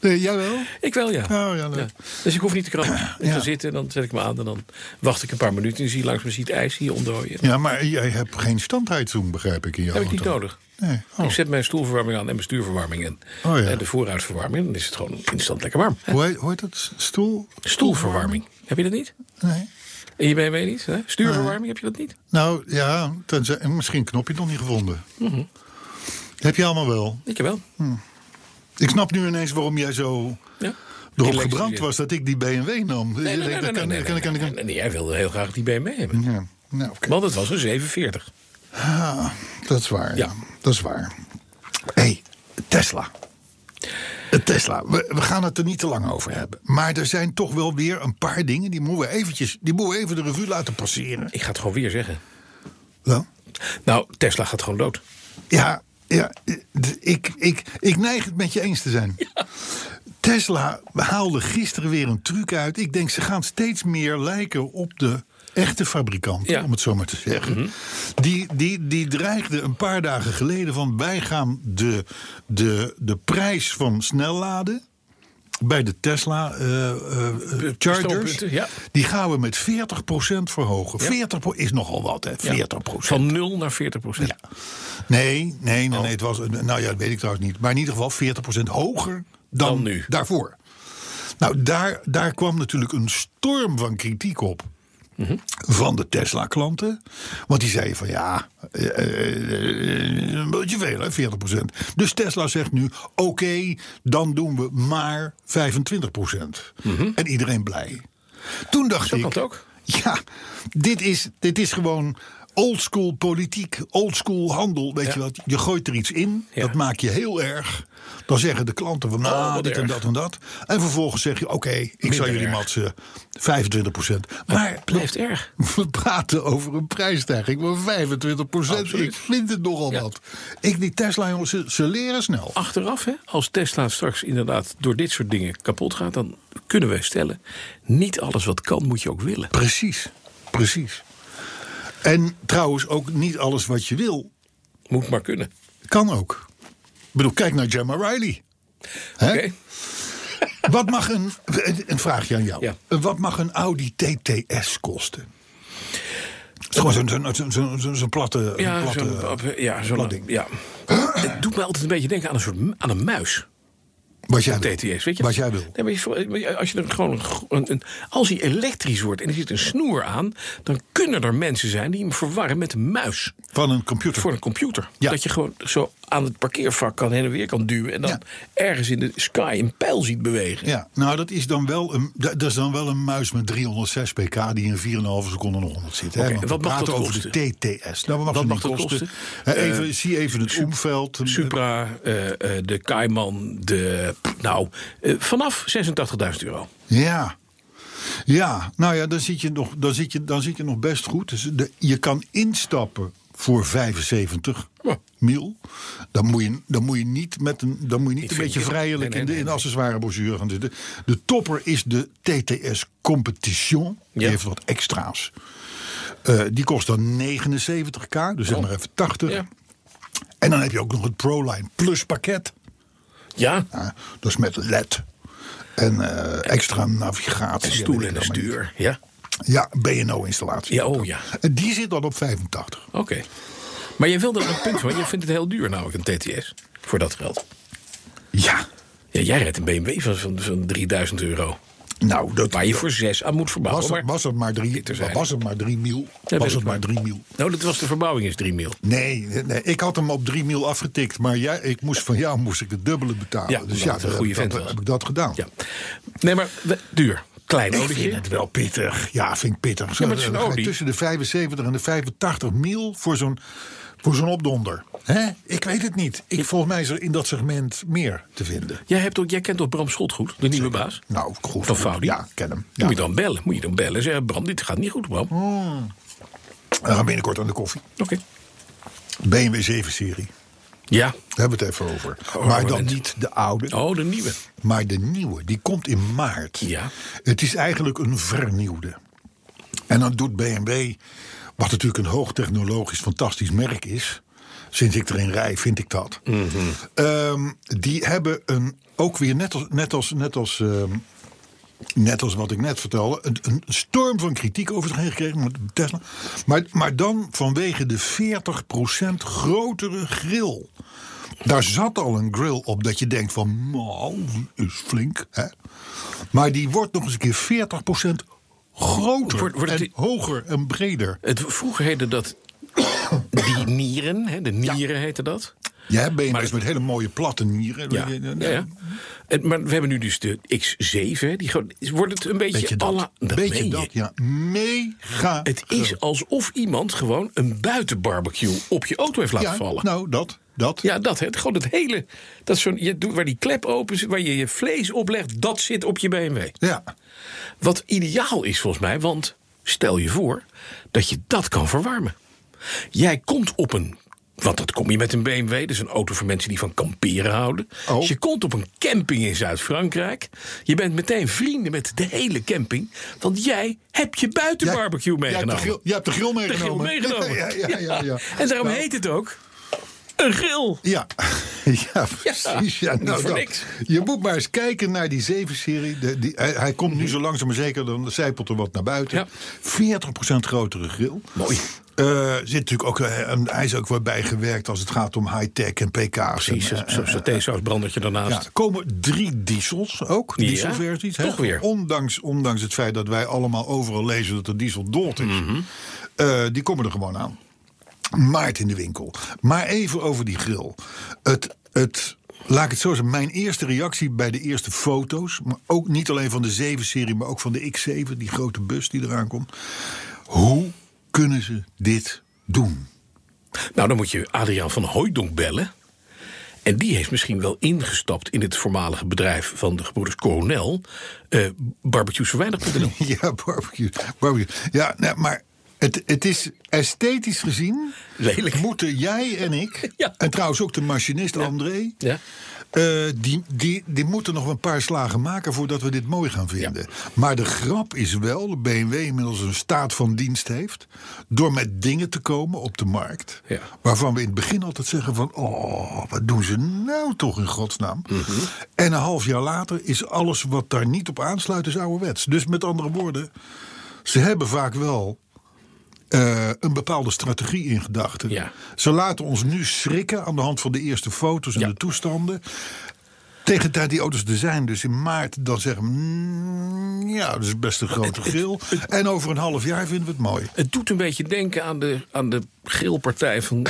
[SPEAKER 2] Nee, jij wel?
[SPEAKER 3] ik wel ja.
[SPEAKER 2] Oh, ja, leuk.
[SPEAKER 3] Dus ik hoef niet te krabben. Ik
[SPEAKER 2] Ja.
[SPEAKER 3] ga zitten, dan zet ik me aan en dan wacht ik een paar minuten. En zie je langs me ziet ijs hier ontdooien.
[SPEAKER 2] Ja, maar jij hebt geen standheidszoen, begrijp ik, in je
[SPEAKER 3] Dat heb
[SPEAKER 2] auto.
[SPEAKER 3] ik niet nodig.
[SPEAKER 2] Nee. Oh.
[SPEAKER 3] Ik zet mijn stoelverwarming aan en mijn stuurverwarming in.
[SPEAKER 2] Oh, ja.
[SPEAKER 3] En de vooruitverwarming, dan is het gewoon instant lekker warm.
[SPEAKER 2] Hoe heet, hoe heet dat? Stoel?
[SPEAKER 3] Stoelverwarming, heb je dat niet?
[SPEAKER 2] Nee.
[SPEAKER 3] In je BMW niet? Hè? Stuurverwarming, heb je dat niet?
[SPEAKER 2] Nou ja, tenzij, en misschien knopje nog niet gevonden.
[SPEAKER 3] Mhm.
[SPEAKER 2] Heb je allemaal wel.
[SPEAKER 3] Ik wel.
[SPEAKER 2] Ik snap nu ineens waarom jij zo
[SPEAKER 3] Ja.
[SPEAKER 2] erop
[SPEAKER 3] Die
[SPEAKER 2] gebrand
[SPEAKER 3] elektrische-
[SPEAKER 2] was dat ik die BMW nam.
[SPEAKER 3] Nee, nee, nee, nee, nee, nee, nee, nee, nee, Jij wilde heel graag die BMW hebben.
[SPEAKER 2] Ja, nou, oké.
[SPEAKER 3] Want het was een 47.
[SPEAKER 2] Ah, dat is waar. Ja.
[SPEAKER 3] Ja.
[SPEAKER 2] Dat is waar. Hé, hey, Tesla. Eh, Tesla, we, we gaan het er niet te lang over hebben. Maar er zijn toch wel weer een paar dingen die moeten we, eventjes, die moeten we even de revue laten passeren.
[SPEAKER 3] Ik ga het gewoon weer zeggen.
[SPEAKER 2] Wel?
[SPEAKER 3] Nou, Tesla gaat gewoon dood.
[SPEAKER 2] Ja, ja d- ik, ik, ik neig het met je eens te zijn. Tesla haalde gisteren weer een truc uit. Ik denk, ze gaan steeds meer lijken op de echte fabrikanten,
[SPEAKER 3] Ja. Mhm.
[SPEAKER 2] om het zo maar te zeggen. die, die, die dreigde een paar dagen geleden van... wij gaan de, de, de prijs van snelladen bij de Tesla eh, eh, eh, Chargers...
[SPEAKER 3] Stroompunten, ja.
[SPEAKER 2] die gaan we met 40% verhogen. 40 is nogal wat, hè? 40%.
[SPEAKER 3] Ja. Van 0 naar 40 procent.
[SPEAKER 2] Nee, nee, nee, nee, het was. Nou ja, dat weet ik trouwens niet. Maar in ieder geval 40% hoger dan,
[SPEAKER 3] Dan nu.
[SPEAKER 2] daarvoor. Nou, daar, daar kwam natuurlijk een storm van kritiek op.
[SPEAKER 3] Mhm.
[SPEAKER 2] Van de Tesla-klanten. Want die zeiden van ja, eh, eh, een beetje veel hè, 40 Dus Tesla zegt nu, oké, dan doen we maar 25 En iedereen blij. Toen dacht
[SPEAKER 3] Mhm. Zo
[SPEAKER 2] ik...
[SPEAKER 3] kan het ook.
[SPEAKER 2] Ja, dit is, dit is gewoon oldschool politiek, oldschool handel. Weet
[SPEAKER 3] Ja.
[SPEAKER 2] je wat? Je gooit er iets in,
[SPEAKER 3] Ja.
[SPEAKER 2] dat maak je heel erg. Dan zeggen de klanten van nou,
[SPEAKER 3] Oh, wat
[SPEAKER 2] dit en
[SPEAKER 3] erg.
[SPEAKER 2] dat en dat. En vervolgens zeg je, oké, ik zal jullie
[SPEAKER 3] erg.
[SPEAKER 2] matsen, 25 Maar
[SPEAKER 3] Het blijft erg.
[SPEAKER 2] we praten over een prijsstijging van 25 Ik vind het nogal
[SPEAKER 3] Ja. Ah.
[SPEAKER 2] wat. Ik, die Tesla jongens, ze, ze leren snel.
[SPEAKER 3] Achteraf, hè, als Tesla straks inderdaad door dit soort dingen kapot gaat, dan kunnen wij stellen: niet alles wat kan, moet je ook willen.
[SPEAKER 2] Precies, precies. En trouwens ook niet alles wat je wil
[SPEAKER 3] Moet maar kunnen.
[SPEAKER 2] Kan ook. Ik bedoel, kijk naar Gemma Riley. Hè?
[SPEAKER 3] Oké?
[SPEAKER 2] Wat mag een, een vraagje aan jou.
[SPEAKER 3] Ja.
[SPEAKER 2] Wat mag een Audi TTS kosten? Het is Gewoon zo'n zo'n zo'n zo'n zo'n- zo'n platte... een
[SPEAKER 3] Ja,
[SPEAKER 2] platte eh,
[SPEAKER 3] zo'n eh, ja, zo'n-
[SPEAKER 2] plat ding.
[SPEAKER 3] ja. Het doet mij altijd een beetje denken aan een soort mu- aan een muis.
[SPEAKER 2] wat jij wil.
[SPEAKER 3] TTS, weet je?
[SPEAKER 2] Wat jij wil.
[SPEAKER 3] Nee, maar je voor- maar je- als je er gewoon een, gro- een, een- als hij elektrisch wordt en er zit een snoer aan, dan kunnen er mensen zijn die hem verwarren met een muis
[SPEAKER 2] Van een computer.
[SPEAKER 3] voor een computer.
[SPEAKER 2] Ja.
[SPEAKER 3] Dat je gewoon zo aan het parkeervak kan heen en weer kan duwen en dan
[SPEAKER 2] Ja.
[SPEAKER 3] ergens in de sky een pijl ziet bewegen.
[SPEAKER 2] Ja, nou dat is, dan wel een, dat dat is dan wel een muis met 306 pk die in 4,5 seconden nog 100 zit. Hè?
[SPEAKER 3] Oké,
[SPEAKER 2] Want
[SPEAKER 3] en
[SPEAKER 2] we
[SPEAKER 3] wat mag
[SPEAKER 2] praten
[SPEAKER 3] dat
[SPEAKER 2] over de TTS. Nou, wat mag,
[SPEAKER 3] Wat
[SPEAKER 2] dat
[SPEAKER 3] mag dat
[SPEAKER 2] kosten?
[SPEAKER 3] kosten? Eh,
[SPEAKER 2] Hè, even, zie even het omveld.
[SPEAKER 3] Supra, eh, eh, de Cayman, de. Nou, eh, vanaf 86.000 euro.
[SPEAKER 2] Ja. Ja, nou ja, dan zit je nog, dan zit je, dan zit je nog best goed. Dus de, je kan instappen voor 75
[SPEAKER 3] Ja.
[SPEAKER 2] mil. Dan moet je, dan moet je niet, met een, dan moet je niet
[SPEAKER 3] Ik
[SPEAKER 2] een
[SPEAKER 3] vind
[SPEAKER 2] beetje
[SPEAKER 3] het-
[SPEAKER 2] vrijelijk
[SPEAKER 3] nee,
[SPEAKER 2] in
[SPEAKER 3] nee,
[SPEAKER 2] de in
[SPEAKER 3] nee.
[SPEAKER 2] accessoire brochure gaan zitten. De topper is de TTS Competition. Die
[SPEAKER 3] Ja.
[SPEAKER 2] heeft wat extra's. Eh, die kost dan 79k, dus zeg
[SPEAKER 3] Oh.
[SPEAKER 2] maar even 80.
[SPEAKER 3] Ja.
[SPEAKER 2] En dan heb je ook nog het ProLine Plus pakket.
[SPEAKER 3] Ja,
[SPEAKER 2] Ja, dat is Dus met LED. En eh, extra navigatie.
[SPEAKER 3] stoelen en een stuur. Ja,
[SPEAKER 2] Ja, BNO-installatie.
[SPEAKER 3] ja oh ja.
[SPEAKER 2] En Eh, die zit dan op 85.
[SPEAKER 3] Oké. Maar je wilde er een punt van. Je vindt het heel duur, namelijk een TTS. Voor dat geld.
[SPEAKER 2] Ja.
[SPEAKER 3] Ja, jij rijdt een BMW van, van, van 3000 euro.
[SPEAKER 2] Nou, dat
[SPEAKER 3] Waar je voor zes aan moet verbouwen.
[SPEAKER 2] was, het,
[SPEAKER 3] maar-
[SPEAKER 2] was het maar drie,
[SPEAKER 3] Dit terzijde.
[SPEAKER 2] was het maar drie mil.
[SPEAKER 3] Ja, weet
[SPEAKER 2] was
[SPEAKER 3] ik
[SPEAKER 2] het maar
[SPEAKER 3] wel.
[SPEAKER 2] drie mil.
[SPEAKER 3] Nou, dat was de verbouwing is 3 mil.
[SPEAKER 2] Nee, nee, nee, ik had hem op drie mil afgetikt. Maar jij, ik moest van jou moest ik het dubbele betalen.
[SPEAKER 3] Ja,
[SPEAKER 2] dus
[SPEAKER 3] omdat
[SPEAKER 2] ja,
[SPEAKER 3] het een
[SPEAKER 2] dat,
[SPEAKER 3] goede
[SPEAKER 2] dat-
[SPEAKER 3] vent was.
[SPEAKER 2] heb ik dat gedaan.
[SPEAKER 3] Ja. Nee, maar we- duur. Klein
[SPEAKER 2] Ik vind
[SPEAKER 3] autootje.
[SPEAKER 2] het wel pittig. Ja, vind ik pittig.
[SPEAKER 3] Ja, maar het is een
[SPEAKER 2] Dan ga je
[SPEAKER 3] Audi.
[SPEAKER 2] Tussen de 75 en de 85 mil voor zo'n voor zo'n opdonder. Hè? Ik weet het niet. Ik, volgens mij is er in dat segment meer te vinden.
[SPEAKER 3] Jij, hebt ook, jij kent toch Bram Schot goed, de nieuwe baas?
[SPEAKER 2] Nou, goed.
[SPEAKER 3] Van Faudi?
[SPEAKER 2] Ja, ik ken hem. Ja. Hm.
[SPEAKER 3] Moet je dan bellen? Moet je dan bellen? Zeg, Bram, dit gaat niet goed, Bram. Oké.
[SPEAKER 2] We gaan binnenkort aan de koffie. BMW 7-serie.
[SPEAKER 3] Ja.
[SPEAKER 2] Daar hebben we het even over.
[SPEAKER 3] Oh,
[SPEAKER 2] maar
[SPEAKER 3] maar
[SPEAKER 2] dan
[SPEAKER 3] net.
[SPEAKER 2] niet de oude,
[SPEAKER 3] Oh, de nieuwe.
[SPEAKER 2] maar de nieuwe. Die komt in maart.
[SPEAKER 3] Ja.
[SPEAKER 2] Het is eigenlijk een vernieuwde. En dan doet BMW, wat natuurlijk een hoogtechnologisch fantastisch merk is. Sinds ik erin rij, vind ik dat. Ehm, die hebben een, ook weer net als, net als, net als, ehm, net als wat ik net vertelde, een, een storm van kritiek over zich heen gekregen met Tesla. Maar, maar dan vanwege de 40% grotere grill. Daar zat al een grill op dat je denkt van, nou, die is flink. Hè? Maar die wordt nog eens een keer 40% groter
[SPEAKER 3] Wordt- wordt het
[SPEAKER 2] en
[SPEAKER 3] die-
[SPEAKER 2] hoger en breder.
[SPEAKER 3] Het, vroeger heette dat die nieren. Hè, de nieren heette dat.
[SPEAKER 2] Je hebt
[SPEAKER 3] Maar
[SPEAKER 2] BMW's
[SPEAKER 3] het-
[SPEAKER 2] met hele mooie platte nieren. nou,
[SPEAKER 3] Ja. ja, ja. En, maar we hebben nu dus de X7. hè, Die gewoon, wordt het een beetje...
[SPEAKER 2] Beetje
[SPEAKER 3] à
[SPEAKER 2] dat.
[SPEAKER 3] la- dat
[SPEAKER 2] beetje
[SPEAKER 3] meen je.
[SPEAKER 2] dat, ja. Mega.
[SPEAKER 3] Het is alsof iemand gewoon een buitenbarbecue op je auto heeft laten
[SPEAKER 2] ja,
[SPEAKER 3] vallen.
[SPEAKER 2] Nou, dat, dat.
[SPEAKER 3] Ja, dat. Hè. Gewoon het hele... Dat is zo'n, je, doet- waar die klep open zit, waar je je vlees oplegt, dat zit op je BMW.
[SPEAKER 2] ja.
[SPEAKER 3] Wat ideaal is volgens mij, want stel je voor dat je dat kan verwarmen. Jij komt op een. Want dat kom je met een BMW, dat is een auto voor mensen die van kamperen houden.
[SPEAKER 2] Oh.
[SPEAKER 3] Dus je komt op een camping in Zuid-Frankrijk. Je bent meteen vrienden met de hele camping, want jij hebt je
[SPEAKER 2] Jij-
[SPEAKER 3] buitenbarbecue
[SPEAKER 2] jij hebt de
[SPEAKER 3] meegenomen.
[SPEAKER 2] grill- Jij hebt de grill
[SPEAKER 3] De
[SPEAKER 2] meegenomen.
[SPEAKER 3] grill meegenomen.
[SPEAKER 2] Ja, Nou. ja, ja, ja, ja.
[SPEAKER 3] En daarom
[SPEAKER 2] Nou,
[SPEAKER 3] heet het ook een grill.
[SPEAKER 2] Ja, Ja, precies. Ja, nou,
[SPEAKER 3] voor
[SPEAKER 2] dat.
[SPEAKER 3] niks.
[SPEAKER 2] Je moet maar eens kijken naar die zeven-serie. De- die- Hij, hij komt nu zo langzaam maar zeker, dan zijpelt er wat naar buiten.
[SPEAKER 3] Ja.
[SPEAKER 2] 40% grotere grill.
[SPEAKER 3] Mooi.
[SPEAKER 2] Eh, zit natuurlijk ook, eh, een- hij is ook wel bijgewerkt als het gaat om high-tech en pk's.
[SPEAKER 3] Precies,
[SPEAKER 2] en,
[SPEAKER 3] zo'n
[SPEAKER 2] eh,
[SPEAKER 3] zo, satésaus brandertje
[SPEAKER 2] ja,
[SPEAKER 3] daarnaast.
[SPEAKER 2] er komen drie diesels ook,
[SPEAKER 3] Ja,
[SPEAKER 2] dieselversies. hè.
[SPEAKER 3] toch weer.
[SPEAKER 2] Ondanks, ondanks het feit dat wij allemaal overal lezen dat de diesel dood is.
[SPEAKER 3] Mhm.
[SPEAKER 2] eh, die komen er gewoon aan. Maart in de winkel. Maar even over die grill. Het, het, laat ik het zo zeggen, mijn eerste reactie bij de eerste foto's... maar ook niet alleen van de 7-serie, maar ook van de X7... die grote bus die eraan komt. Hoe kunnen ze dit doen?
[SPEAKER 3] Nou, dan moet je Adriaan van Hooijdonk bellen. En die heeft misschien wel ingestapt in het voormalige bedrijf van de gebroeders Coronel. eh barbecuesverweinig.nl.
[SPEAKER 2] Ja, barbecue. barbecue. Ja, nou, maar het, het is esthetisch gezien.
[SPEAKER 3] Lelijk.
[SPEAKER 2] Moeten jij en ik.
[SPEAKER 3] Ja.
[SPEAKER 2] En trouwens ook de machinist André.
[SPEAKER 3] Ja.
[SPEAKER 2] eh, die, die, die moeten nog een paar slagen maken voordat we dit mooi gaan vinden. Maar de grap is wel dat BMW inmiddels een staat van dienst heeft. door met dingen te komen op de markt.
[SPEAKER 3] Ja.
[SPEAKER 2] waarvan we in het begin altijd zeggen: van... oh, wat doen ze nou toch in godsnaam?
[SPEAKER 3] Mhm.
[SPEAKER 2] En een half jaar later is alles wat daar niet op aansluit, is ouderwets. Dus met andere woorden, ze hebben vaak wel eh, een bepaalde strategie in gedachten.
[SPEAKER 3] Ja.
[SPEAKER 2] Ze laten ons nu schrikken aan de hand van de eerste foto's en
[SPEAKER 3] Ja.
[SPEAKER 2] de toestanden. Tegen de tijd die auto's er zijn, dus in maart, dan zeggen we... mm, ja, dat is best een grote gril. En over een half jaar vinden we het mooi.
[SPEAKER 3] Het doet een beetje denken aan de, aan de geelpartij van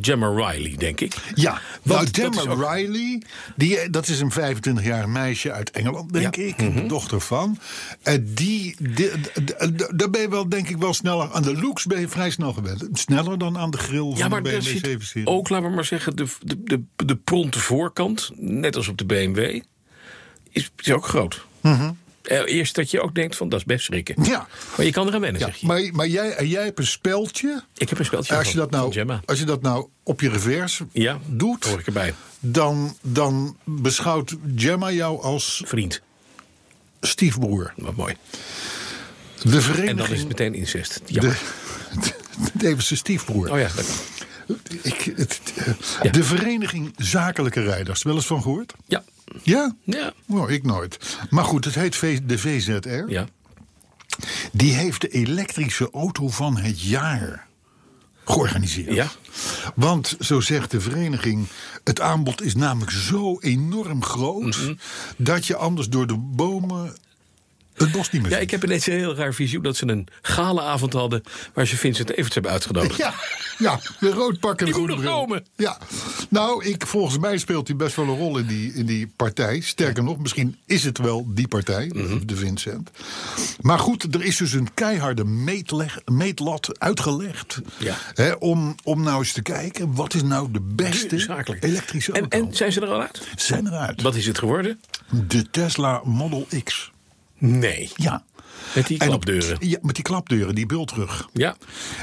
[SPEAKER 3] Gemma Riley, denk ik.
[SPEAKER 2] Ja, want
[SPEAKER 3] dat is
[SPEAKER 2] Nou, Gemma
[SPEAKER 3] ook-
[SPEAKER 2] Riley, die, dat is een 25-jarig meisje uit Engeland, denk
[SPEAKER 3] Ja. Mhm.
[SPEAKER 2] ik. De dochter van. En die, die- d- d- d- daar ben je wel, denk ik, wel sneller. Aan de looks ben je vrij snel gewend. Sneller dan aan de grill
[SPEAKER 3] Ja,
[SPEAKER 2] van
[SPEAKER 3] maar
[SPEAKER 2] de
[SPEAKER 3] er
[SPEAKER 2] BMW
[SPEAKER 3] zit
[SPEAKER 2] 7-serie.
[SPEAKER 3] ook, laten we maar zeggen, de, de, de, de pronte voorkant, net als op de BMW, is, is ook groot. Eh, Eerst dat je ook denkt van, dat is best schrikken.
[SPEAKER 2] Mhm. Ja.
[SPEAKER 3] Maar je kan eraan wennen, zeg je.
[SPEAKER 2] Maar, maar jij, en jij hebt een speldje.
[SPEAKER 3] ik heb een speltje
[SPEAKER 2] Als je,
[SPEAKER 3] van-
[SPEAKER 2] dat nou,
[SPEAKER 3] van Gemma.
[SPEAKER 2] als je dat nou op je revers
[SPEAKER 3] Ja,
[SPEAKER 2] doet,
[SPEAKER 3] hoor ik erbij.
[SPEAKER 2] Dan, dan beschouwt Gemma jou als
[SPEAKER 3] Vriend,
[SPEAKER 2] stiefbroer.
[SPEAKER 3] wat mooi.
[SPEAKER 2] De
[SPEAKER 3] En dan is
[SPEAKER 2] vereniging...
[SPEAKER 3] het meteen incest. Ja.
[SPEAKER 2] de, even zijn stiefbroer.
[SPEAKER 3] Oh ja, dat-
[SPEAKER 2] Ik, het, het-
[SPEAKER 3] Ja.
[SPEAKER 2] De Vereniging Zakelijke Rijders, wel eens van gehoord?
[SPEAKER 3] ja.
[SPEAKER 2] Ja?
[SPEAKER 3] Ja.
[SPEAKER 2] Nou, ik nooit. Maar goed, het heet V- de VZR.
[SPEAKER 3] ja.
[SPEAKER 2] Die heeft de elektrische auto van het jaar georganiseerd.
[SPEAKER 3] Ja.
[SPEAKER 2] Want, zo zegt de vereniging, het aanbod is namelijk zo enorm groot...
[SPEAKER 3] Mhm.
[SPEAKER 2] dat je anders door de bomen het bos niet meer
[SPEAKER 3] Ja,
[SPEAKER 2] ziet.
[SPEAKER 3] ik heb ineens een heel raar visioen dat ze een galaavond hadden... waar ze Vincent Everts hebben uitgenodigd.
[SPEAKER 2] Ja, ja, de rood pak en
[SPEAKER 3] Die
[SPEAKER 2] de groene
[SPEAKER 3] moet nog
[SPEAKER 2] bril.
[SPEAKER 3] komen.
[SPEAKER 2] Ja, nou, ik, volgens mij speelt hij best wel een rol in die, in die partij. Sterker nog, misschien is het wel die partij,
[SPEAKER 3] Mhm.
[SPEAKER 2] de Vincent. Maar goed, er is dus een keiharde meetleg, meetlat uitgelegd.
[SPEAKER 3] Ja.
[SPEAKER 2] Hè, om, om nou eens te kijken, wat is nou de beste
[SPEAKER 3] Zakelijk.
[SPEAKER 2] elektrische
[SPEAKER 3] en,
[SPEAKER 2] auto?
[SPEAKER 3] en zijn ze er al uit?
[SPEAKER 2] Zijn eruit.
[SPEAKER 3] Wat is het geworden?
[SPEAKER 2] De Tesla Model X.
[SPEAKER 3] Nee.
[SPEAKER 2] Ja.
[SPEAKER 3] Met die
[SPEAKER 2] En op-
[SPEAKER 3] klapdeuren.
[SPEAKER 2] Ja, met die klapdeuren, die bultrug.
[SPEAKER 3] Ja.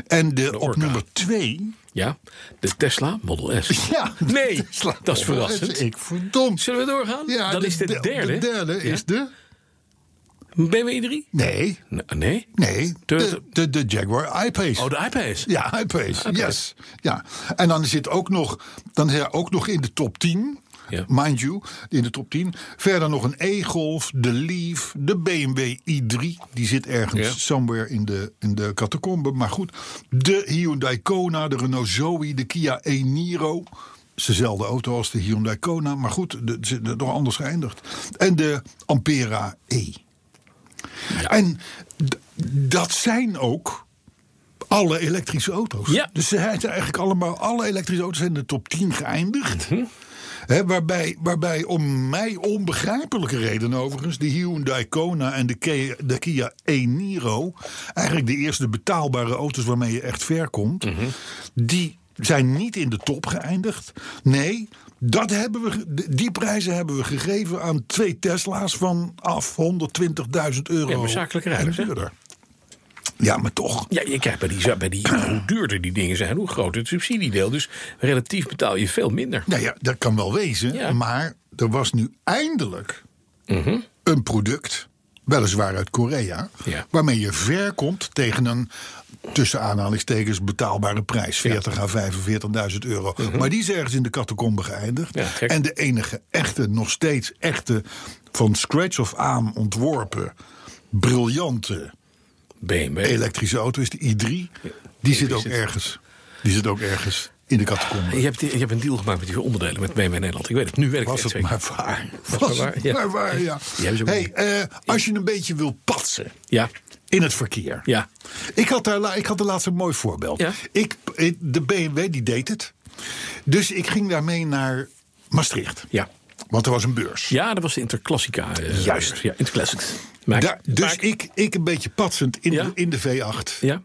[SPEAKER 2] En de, op
[SPEAKER 3] Orca.
[SPEAKER 2] nummer twee
[SPEAKER 3] Ja. De Tesla Model S.
[SPEAKER 2] Ja,
[SPEAKER 3] Nee,
[SPEAKER 2] dat slaat
[SPEAKER 3] dat is
[SPEAKER 2] op.
[SPEAKER 3] verrassend.
[SPEAKER 2] Ik verdomd.
[SPEAKER 3] Zullen we doorgaan?
[SPEAKER 2] Ja,
[SPEAKER 3] dat is de, derde.
[SPEAKER 2] De derde
[SPEAKER 3] Ja.
[SPEAKER 2] is de.
[SPEAKER 3] BMW 3?
[SPEAKER 2] Nee,
[SPEAKER 3] E N- nee.
[SPEAKER 2] nee. De,
[SPEAKER 3] De-
[SPEAKER 2] de, de Jaguar I-Pace.
[SPEAKER 3] Oh, de iPace.
[SPEAKER 2] ja, I-Pace, yes. Ja. En dan zit ook nog, dan zit er ook nog in de top 10.
[SPEAKER 3] Ja.
[SPEAKER 2] Mind you, in de top 10. Verder nog een E-Golf, de Leaf, de BMW i3. Die zit ergens
[SPEAKER 3] Ja.
[SPEAKER 2] somewhere in de, in de catacombe. Maar goed, de Hyundai Kona, de Renault Zoe, de Kia e-Niro. Het is Dezelfde auto als de Hyundai Kona, maar goed, de- ze zijn nog anders geëindigd. En de Ampera E. En d- dat zijn ook alle elektrische auto's.
[SPEAKER 3] Ja.
[SPEAKER 2] Dus ze zijn eigenlijk allemaal, alle elektrische auto's zijn in de top 10 geëindigd. Hè, waarbij, waarbij om mij onbegrijpelijke redenen overigens... de Hyundai Kona en de, Kia- de Kia e-Niro... eigenlijk de eerste betaalbare auto's waarmee je echt ver komt...
[SPEAKER 3] Mhm.
[SPEAKER 2] die zijn niet in de top geëindigd. Nee, dat hebben we, ge- d- die prijzen hebben we gegeven aan twee Tesla's... vanaf 120.000 euro
[SPEAKER 3] Ja, maar zakelijke rijders, hè?
[SPEAKER 2] en duurder. Ja, maar toch.
[SPEAKER 3] Ja, je krijgt bij die, za- bij die hoe duurder die dingen zijn, hoe groter het subsidiedeel. Dus relatief betaal je veel minder.
[SPEAKER 2] Nou ja, dat kan wel wezen.
[SPEAKER 3] Ja. Mhm.
[SPEAKER 2] Maar er was nu eindelijk een product, weliswaar uit Korea,
[SPEAKER 3] Ja.
[SPEAKER 2] waarmee je ver komt tegen een tussen aanhalingstekens betaalbare prijs. 40 à 45.000 euro. Maar die is ergens in de catacombe geëindigd.
[SPEAKER 3] Mhm. Ja, gek.
[SPEAKER 2] en de enige echte, nog steeds echte, van scratch of aan ontworpen, briljante
[SPEAKER 3] BMW.
[SPEAKER 2] elektrische auto is de i3. Die zit ook
[SPEAKER 3] zit-
[SPEAKER 2] ergens. Die zit ook ergens in de catacombe.
[SPEAKER 3] Je hebt, je hebt een deal gemaakt met die onderdelen met BMW Nederland. Ik weet het, nu weet ik
[SPEAKER 2] Was
[SPEAKER 3] het.
[SPEAKER 2] het
[SPEAKER 3] echt
[SPEAKER 2] maar
[SPEAKER 3] zeker.
[SPEAKER 2] waar.
[SPEAKER 3] Was
[SPEAKER 2] Was
[SPEAKER 3] het maar
[SPEAKER 2] het
[SPEAKER 3] waar,
[SPEAKER 2] maar
[SPEAKER 3] ja.
[SPEAKER 2] waar, ja.
[SPEAKER 3] Die hebben ze ook
[SPEAKER 2] hey, eh, als je een beetje wil patsen
[SPEAKER 3] Ja,
[SPEAKER 2] in het verkeer.
[SPEAKER 3] ja.
[SPEAKER 2] Ik had, daar, la- ik had de laatste een mooi voorbeeld.
[SPEAKER 3] Ja.
[SPEAKER 2] Ik, eh, de BMW die deed het. Dus ik ging daarmee naar Maastricht.
[SPEAKER 3] Ja.
[SPEAKER 2] Want er was een beurs.
[SPEAKER 3] ja, dat was de Interclassica. eh,
[SPEAKER 2] Juist.
[SPEAKER 3] Ja, Interclassics. Maar-
[SPEAKER 2] Daar- dus
[SPEAKER 3] maar-
[SPEAKER 2] ik, ik een beetje patsend in,
[SPEAKER 3] Ja.
[SPEAKER 2] de, in de V8.
[SPEAKER 3] Ja.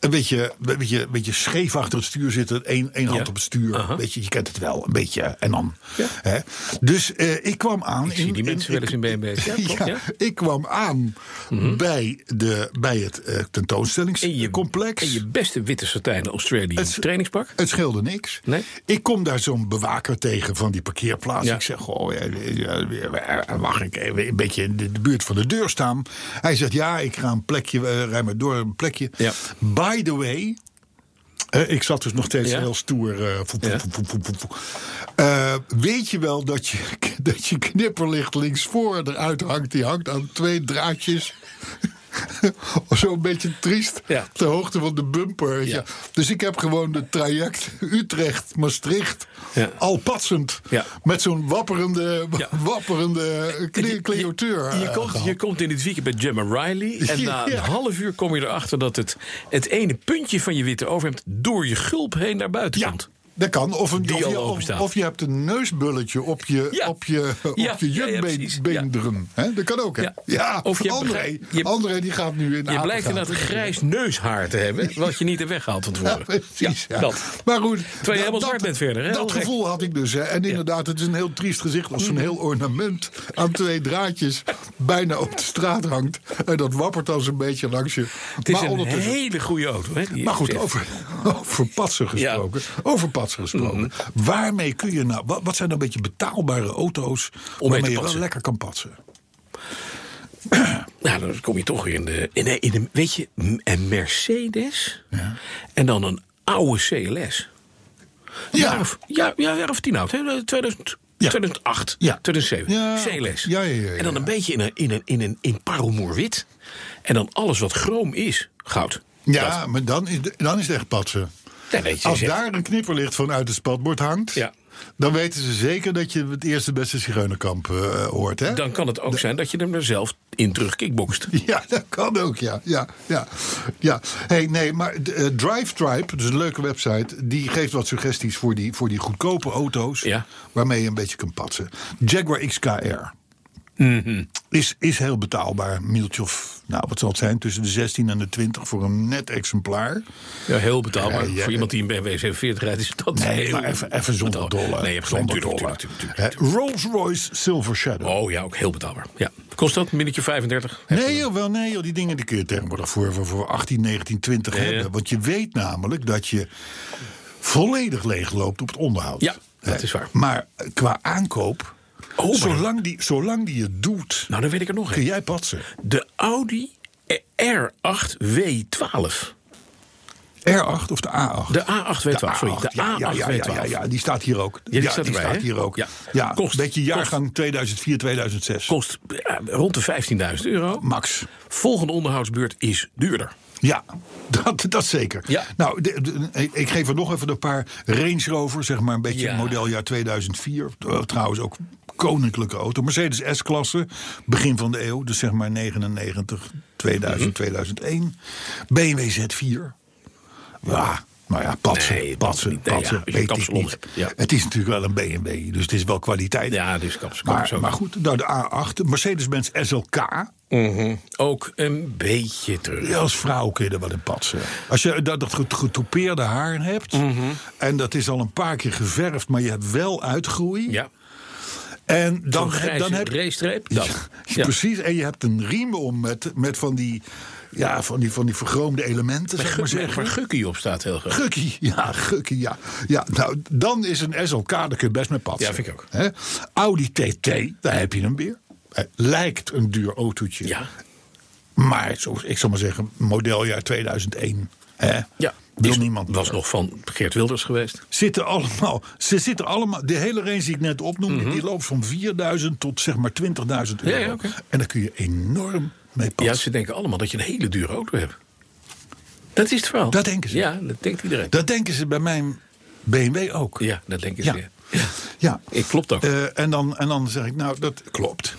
[SPEAKER 2] Een beetje, een, beetje, een beetje scheef achter het stuur zitten. Eén één hand
[SPEAKER 3] Ja.
[SPEAKER 2] op het stuur.
[SPEAKER 3] Aha.
[SPEAKER 2] Weet je, je kent het wel. Een beetje. En dan.
[SPEAKER 3] Ja.
[SPEAKER 2] Hè? Dus eh, ik kwam aan.
[SPEAKER 3] Ik zie die mensen wel eens in BMW's. Ja, klopt, ja.
[SPEAKER 2] Ik kwam aan bij, de, bij het eh,
[SPEAKER 3] in je-
[SPEAKER 2] tentoonstellingscomplex.
[SPEAKER 3] In je beste witte satijnen Australië
[SPEAKER 2] Het-
[SPEAKER 3] trainingspak.
[SPEAKER 2] Het scheelde niks.
[SPEAKER 3] Nee?
[SPEAKER 2] Ik kom daar zo'n bewaker tegen van die parkeerplaats.
[SPEAKER 3] Ja.
[SPEAKER 2] Ik zeg, goh, ja, ja, ja, mag ik even een beetje in de de buurt van de deur staan? Hij zegt, ja, ik ga een plekje, eh, rij maar door een plekje.
[SPEAKER 3] Ja.
[SPEAKER 2] By the way... eh, ik zat dus nog steeds
[SPEAKER 3] Ja.
[SPEAKER 2] heel stoer. eh, voep,
[SPEAKER 3] Ja.
[SPEAKER 2] voep, voep, voep, voep, voep. Eh, weet je wel dat je, dat je knipperlicht linksvoor eruit hangt? Die hangt aan twee draadjes. Zo'n beetje triest.
[SPEAKER 3] Ja.
[SPEAKER 2] De hoogte van de bumper. weet je.
[SPEAKER 3] Ja.
[SPEAKER 2] Dus ik heb gewoon het traject Utrecht-Maastricht
[SPEAKER 3] Ja.
[SPEAKER 2] al patsend.
[SPEAKER 3] Ja.
[SPEAKER 2] Met zo'n wapperende,
[SPEAKER 3] Ja.
[SPEAKER 2] wapperende kle-
[SPEAKER 3] Je,
[SPEAKER 2] cleoteur.
[SPEAKER 3] je,
[SPEAKER 2] eh,
[SPEAKER 3] komt,
[SPEAKER 2] gehad.
[SPEAKER 3] je komt in het weekend bij Gemma Riley. En na een
[SPEAKER 2] Ja.
[SPEAKER 3] half uur kom je erachter dat het, het ene puntje van je witte overhemd door je gulp heen naar buiten
[SPEAKER 2] ja,
[SPEAKER 3] komt.
[SPEAKER 2] dat kan. Of, een,
[SPEAKER 3] Die
[SPEAKER 2] of,
[SPEAKER 3] al
[SPEAKER 2] je,
[SPEAKER 3] open
[SPEAKER 2] of,
[SPEAKER 3] staat.
[SPEAKER 2] of je hebt een neusbulletje op je,
[SPEAKER 3] Ja.
[SPEAKER 2] op je, op
[SPEAKER 3] Ja,
[SPEAKER 2] je
[SPEAKER 3] ja, ja, precies.
[SPEAKER 2] jukbeenderen. Hè, dat kan ook, hè?
[SPEAKER 3] Ja.
[SPEAKER 2] Ja,
[SPEAKER 3] Of je hebt
[SPEAKER 2] André,
[SPEAKER 3] begrijp- je hebt-
[SPEAKER 2] André die gaat nu in
[SPEAKER 3] Je blijkt
[SPEAKER 2] apengaten.
[SPEAKER 3] inderdaad een grijs neushaar te hebben. Wat je niet hebt weggehaald van
[SPEAKER 2] Ja,
[SPEAKER 3] tevoren.
[SPEAKER 2] precies. Ja,
[SPEAKER 3] dat.
[SPEAKER 2] Maar goed. dat-
[SPEAKER 3] helemaal zwart
[SPEAKER 2] dat-
[SPEAKER 3] bent verder, hè? Heel
[SPEAKER 2] Dat
[SPEAKER 3] gek.
[SPEAKER 2] gevoel had ik dus. Hè. En inderdaad, het is een heel triest gezicht als zo'n heel ornament aan twee draadjes bijna op de straat hangt. En dat wappert dan zo'n beetje langs je.
[SPEAKER 3] Het is
[SPEAKER 2] maar
[SPEAKER 3] een
[SPEAKER 2] ondertussen.
[SPEAKER 3] hele goede auto. Hè, die-
[SPEAKER 2] Maar goed, over, over patsen gesproken. Over patsen gesproken.
[SPEAKER 3] Mm.
[SPEAKER 2] Waarmee kun je nou. Wat, wat zijn dan een beetje betaalbare auto's.
[SPEAKER 3] te
[SPEAKER 2] waarmee je wel
[SPEAKER 3] patsen.
[SPEAKER 2] lekker kan patsen?
[SPEAKER 3] Nou, dan kom je toch weer in de. In, de- in de weet je, m- een Mercedes. En dan een oude CLS.
[SPEAKER 2] Ja.
[SPEAKER 3] Jaar of, ja, ja, jaar of tien oud, hè? Eh, 2000,
[SPEAKER 2] Ja.
[SPEAKER 3] 2008,
[SPEAKER 2] Ja.
[SPEAKER 3] 2007.
[SPEAKER 2] Ja.
[SPEAKER 3] CLS.
[SPEAKER 2] Ja, ja, ja, ja.
[SPEAKER 3] En dan een beetje in een, in een, in een in parelmoerwit. En dan alles wat chroom is, goud.
[SPEAKER 2] Ja, maar dan is, de- dan is het echt patsen.
[SPEAKER 3] Dan weet je
[SPEAKER 2] Als
[SPEAKER 3] zeg,
[SPEAKER 2] daar een knipperlicht vanuit het spatbord hangt,
[SPEAKER 3] Ja.
[SPEAKER 2] dan weten ze zeker dat je het eerste beste zigeunerkamp eh, hoort. Hè?
[SPEAKER 3] Dan kan het ook zijn dat je hem er zelf in terug kickboxt.
[SPEAKER 2] Ja, dat kan ook, ja. ja, ja, ja. Hey, nee, maar de, eh, Drive Tribe, dus een leuke website, die geeft wat suggesties voor die, voor die goedkope auto's
[SPEAKER 3] Ja.
[SPEAKER 2] waarmee je een beetje kan patsen. Jaguar XKR.
[SPEAKER 3] Mhm.
[SPEAKER 2] Is, is heel betaalbaar. Mieltje of, nou wat zal het zijn, tussen de 16 en de 20 voor een net exemplaar.
[SPEAKER 3] Ja, heel betaalbaar.
[SPEAKER 2] Ja, ja.
[SPEAKER 3] Voor iemand die een BMW 47 rijdt is dat
[SPEAKER 2] Nee,
[SPEAKER 3] heel
[SPEAKER 2] maar even, even zonder
[SPEAKER 3] betaalbaar.
[SPEAKER 2] dollar.
[SPEAKER 3] Nee, je hebt gelijk,
[SPEAKER 2] zonder
[SPEAKER 3] tuurlijk,
[SPEAKER 2] dollar.
[SPEAKER 3] tuurlijk, tuurlijk,
[SPEAKER 2] Hè, Rolls-Royce Silver Shadow.
[SPEAKER 3] tuurlijk. Oh ja, ook heel betaalbaar. Ja. Kost dat een minnetje 35?
[SPEAKER 2] Nee joh, wel nee joh, die dingen die kun je tegenwoordig voor, voor, voor 18, 19, 20
[SPEAKER 3] ja.
[SPEAKER 2] hebben. Want je weet namelijk dat je volledig leegloopt op het onderhoud.
[SPEAKER 3] Ja,
[SPEAKER 2] Hè.
[SPEAKER 3] dat is waar.
[SPEAKER 2] Maar eh, qua aankoop,
[SPEAKER 3] Oh, maar-
[SPEAKER 2] zolang, die, zolang die het doet,
[SPEAKER 3] Nou, dan weet ik er nog
[SPEAKER 2] kun
[SPEAKER 3] een.
[SPEAKER 2] jij patsen.
[SPEAKER 3] De Audi R8 W12.
[SPEAKER 2] R8 of de A8?
[SPEAKER 3] De A8 W12, sorry. De
[SPEAKER 2] ja, ja,
[SPEAKER 3] A8
[SPEAKER 2] ja, ja, ja,
[SPEAKER 3] W12.
[SPEAKER 2] ja, die staat hier ook.
[SPEAKER 3] die staat erbij, hè?
[SPEAKER 2] hier ook.
[SPEAKER 3] Ja.
[SPEAKER 2] Ja,
[SPEAKER 3] Kost-
[SPEAKER 2] beetje jaargang 2004, 2006.
[SPEAKER 3] Kost eh, rond de 15.000 euro.
[SPEAKER 2] Max.
[SPEAKER 3] Volgende onderhoudsbeurt is duurder.
[SPEAKER 2] Ja, dat, dat zeker.
[SPEAKER 3] Ja.
[SPEAKER 2] Nou, de- de- ik- ik geef er nog even een paar Range Rover, zeg maar een beetje
[SPEAKER 3] Ja.
[SPEAKER 2] modeljaar 2004. Eh, Trouwens ook koninklijke auto. Mercedes S-klasse, begin van de eeuw, dus zeg maar 99, 2000,
[SPEAKER 3] Mhm.
[SPEAKER 2] 2001. BMW Z4. Ja, nou ja, patsen,
[SPEAKER 3] Nee, dat
[SPEAKER 2] patsen,
[SPEAKER 3] niet.
[SPEAKER 2] patsen.
[SPEAKER 3] Nee, ja, als je
[SPEAKER 2] weet ik
[SPEAKER 3] kapsalon
[SPEAKER 2] niet.
[SPEAKER 3] hebt, ja.
[SPEAKER 2] Het is natuurlijk wel een BMW, dus het is wel kwaliteit.
[SPEAKER 3] Ja, dus kaps, kaps
[SPEAKER 2] maar,
[SPEAKER 3] ook.
[SPEAKER 2] maar goed, nou de A8, Mercedes-Benz SLK.
[SPEAKER 3] Ook een beetje terug.
[SPEAKER 2] Mhm. Ja, als vrouw kun je er wel in patsen. Als je dat, dat get- getoupeerde haar hebt...
[SPEAKER 3] Mhm.
[SPEAKER 2] en dat is al een paar keer geverfd, maar je hebt wel uitgroei...
[SPEAKER 3] Ja.
[SPEAKER 2] en dan,
[SPEAKER 3] Zo'n grijze
[SPEAKER 2] dan heb je...
[SPEAKER 3] raystreep, dat. Ja.
[SPEAKER 2] Precies, en je hebt een riem om met, met van, die, ja, van, die, van die vergroomde elementen, zeg maar
[SPEAKER 3] Zeg
[SPEAKER 2] zeggen.
[SPEAKER 3] maar Gukkie op staat heel groot.
[SPEAKER 2] Gukkie, ja, gukkie, ja. ja. Nou, dan is een SLK, daar kun je best mee patsen.
[SPEAKER 3] Ja, vind ik ook.
[SPEAKER 2] Hè? Audi TT, daar heb je hem weer. Eh, Lijkt een duur autootje.
[SPEAKER 3] Ja.
[SPEAKER 2] Maar zo, ik zal maar zeggen, modeljaar 2001. Hè, Hè?
[SPEAKER 3] Ja,
[SPEAKER 2] Wil
[SPEAKER 3] is-
[SPEAKER 2] niemand
[SPEAKER 3] was
[SPEAKER 2] meer.
[SPEAKER 3] nog van Geert Wilders geweest.
[SPEAKER 2] Zitten allemaal, ze zitten allemaal, de hele range die ik net opnoemde, die loopt van 4000 tot zeg maar 20.000 euro.
[SPEAKER 3] Mhm. Ja, ja, oké.
[SPEAKER 2] En daar kun je enorm mee
[SPEAKER 3] Ja,
[SPEAKER 2] passen.
[SPEAKER 3] ze denken allemaal dat je een hele dure auto hebt. Dat is het verhaal.
[SPEAKER 2] Dat denken ze.
[SPEAKER 3] Ja, dat denkt iedereen.
[SPEAKER 2] Dat denken ze bij mijn BMW ook.
[SPEAKER 3] ja, dat denken
[SPEAKER 2] Ja.
[SPEAKER 3] ze.
[SPEAKER 2] Ja.
[SPEAKER 3] Ik klopt ook.
[SPEAKER 2] Eh, en, dan, en dan zeg ik, nou, dat klopt.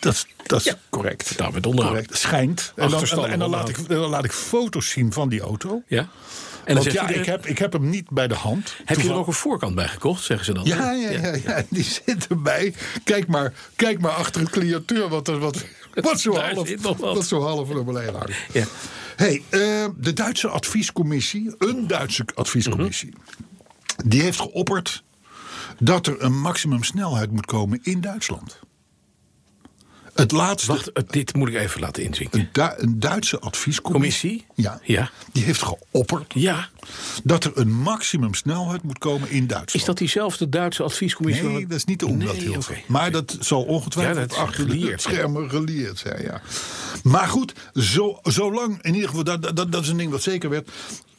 [SPEAKER 2] Dat, is- dat is
[SPEAKER 3] Ja.
[SPEAKER 2] correct.
[SPEAKER 3] Daar met onderhoud.
[SPEAKER 2] Correct. Schijnt. En dan, en,
[SPEAKER 3] Achterstand
[SPEAKER 2] en dan laat ik,
[SPEAKER 3] onderhoud.
[SPEAKER 2] dan laat ik foto's zien van die auto.
[SPEAKER 3] Ja. En dan
[SPEAKER 2] Want
[SPEAKER 3] zegt
[SPEAKER 2] ja,
[SPEAKER 3] iedereen,
[SPEAKER 2] ik, heb, ik heb hem niet bij de hand.
[SPEAKER 3] heb je er
[SPEAKER 2] Toeval-
[SPEAKER 3] ook een voorkant bij gekocht, zeggen ze dan.
[SPEAKER 2] Ja, ja, ja, ja, die zit erbij. Kijk maar, kijk maar achter het cliëntuur wat, er- wat, wat zo
[SPEAKER 3] Daar
[SPEAKER 2] half,
[SPEAKER 3] zit nog wat.
[SPEAKER 2] wat zo half er beneden hangt.
[SPEAKER 3] Ja.
[SPEAKER 2] Hey, eh, de Duitse adviescommissie, een Duitse adviescommissie,
[SPEAKER 3] Mhm.
[SPEAKER 2] die heeft geopperd dat er een maximumsnelheid moet komen in Duitsland. Het laatste,
[SPEAKER 3] Wacht, eh, dit moet ik even laten inzinken.
[SPEAKER 2] een, Du- een Duitse adviescommissie,
[SPEAKER 3] Commissie?
[SPEAKER 2] Ja,
[SPEAKER 3] ja.
[SPEAKER 2] die heeft geopperd
[SPEAKER 3] Ja.
[SPEAKER 2] dat er een maximumsnelheid moet komen in Duitsland.
[SPEAKER 3] Is dat diezelfde Duitse adviescommissie? waar
[SPEAKER 2] Nee,
[SPEAKER 3] we-
[SPEAKER 2] dat is niet de omwet
[SPEAKER 3] Nee,
[SPEAKER 2] heel
[SPEAKER 3] oké.
[SPEAKER 2] veel. Maar dat zal
[SPEAKER 3] Ja,
[SPEAKER 2] ongetwijfeld
[SPEAKER 3] dat is
[SPEAKER 2] achter de
[SPEAKER 3] geleerd, ja.
[SPEAKER 2] schermen geleerd zijn. Ja. Maar goed, zo, zolang, in ieder geval, dat, dat, dat is een ding wat zeker werd.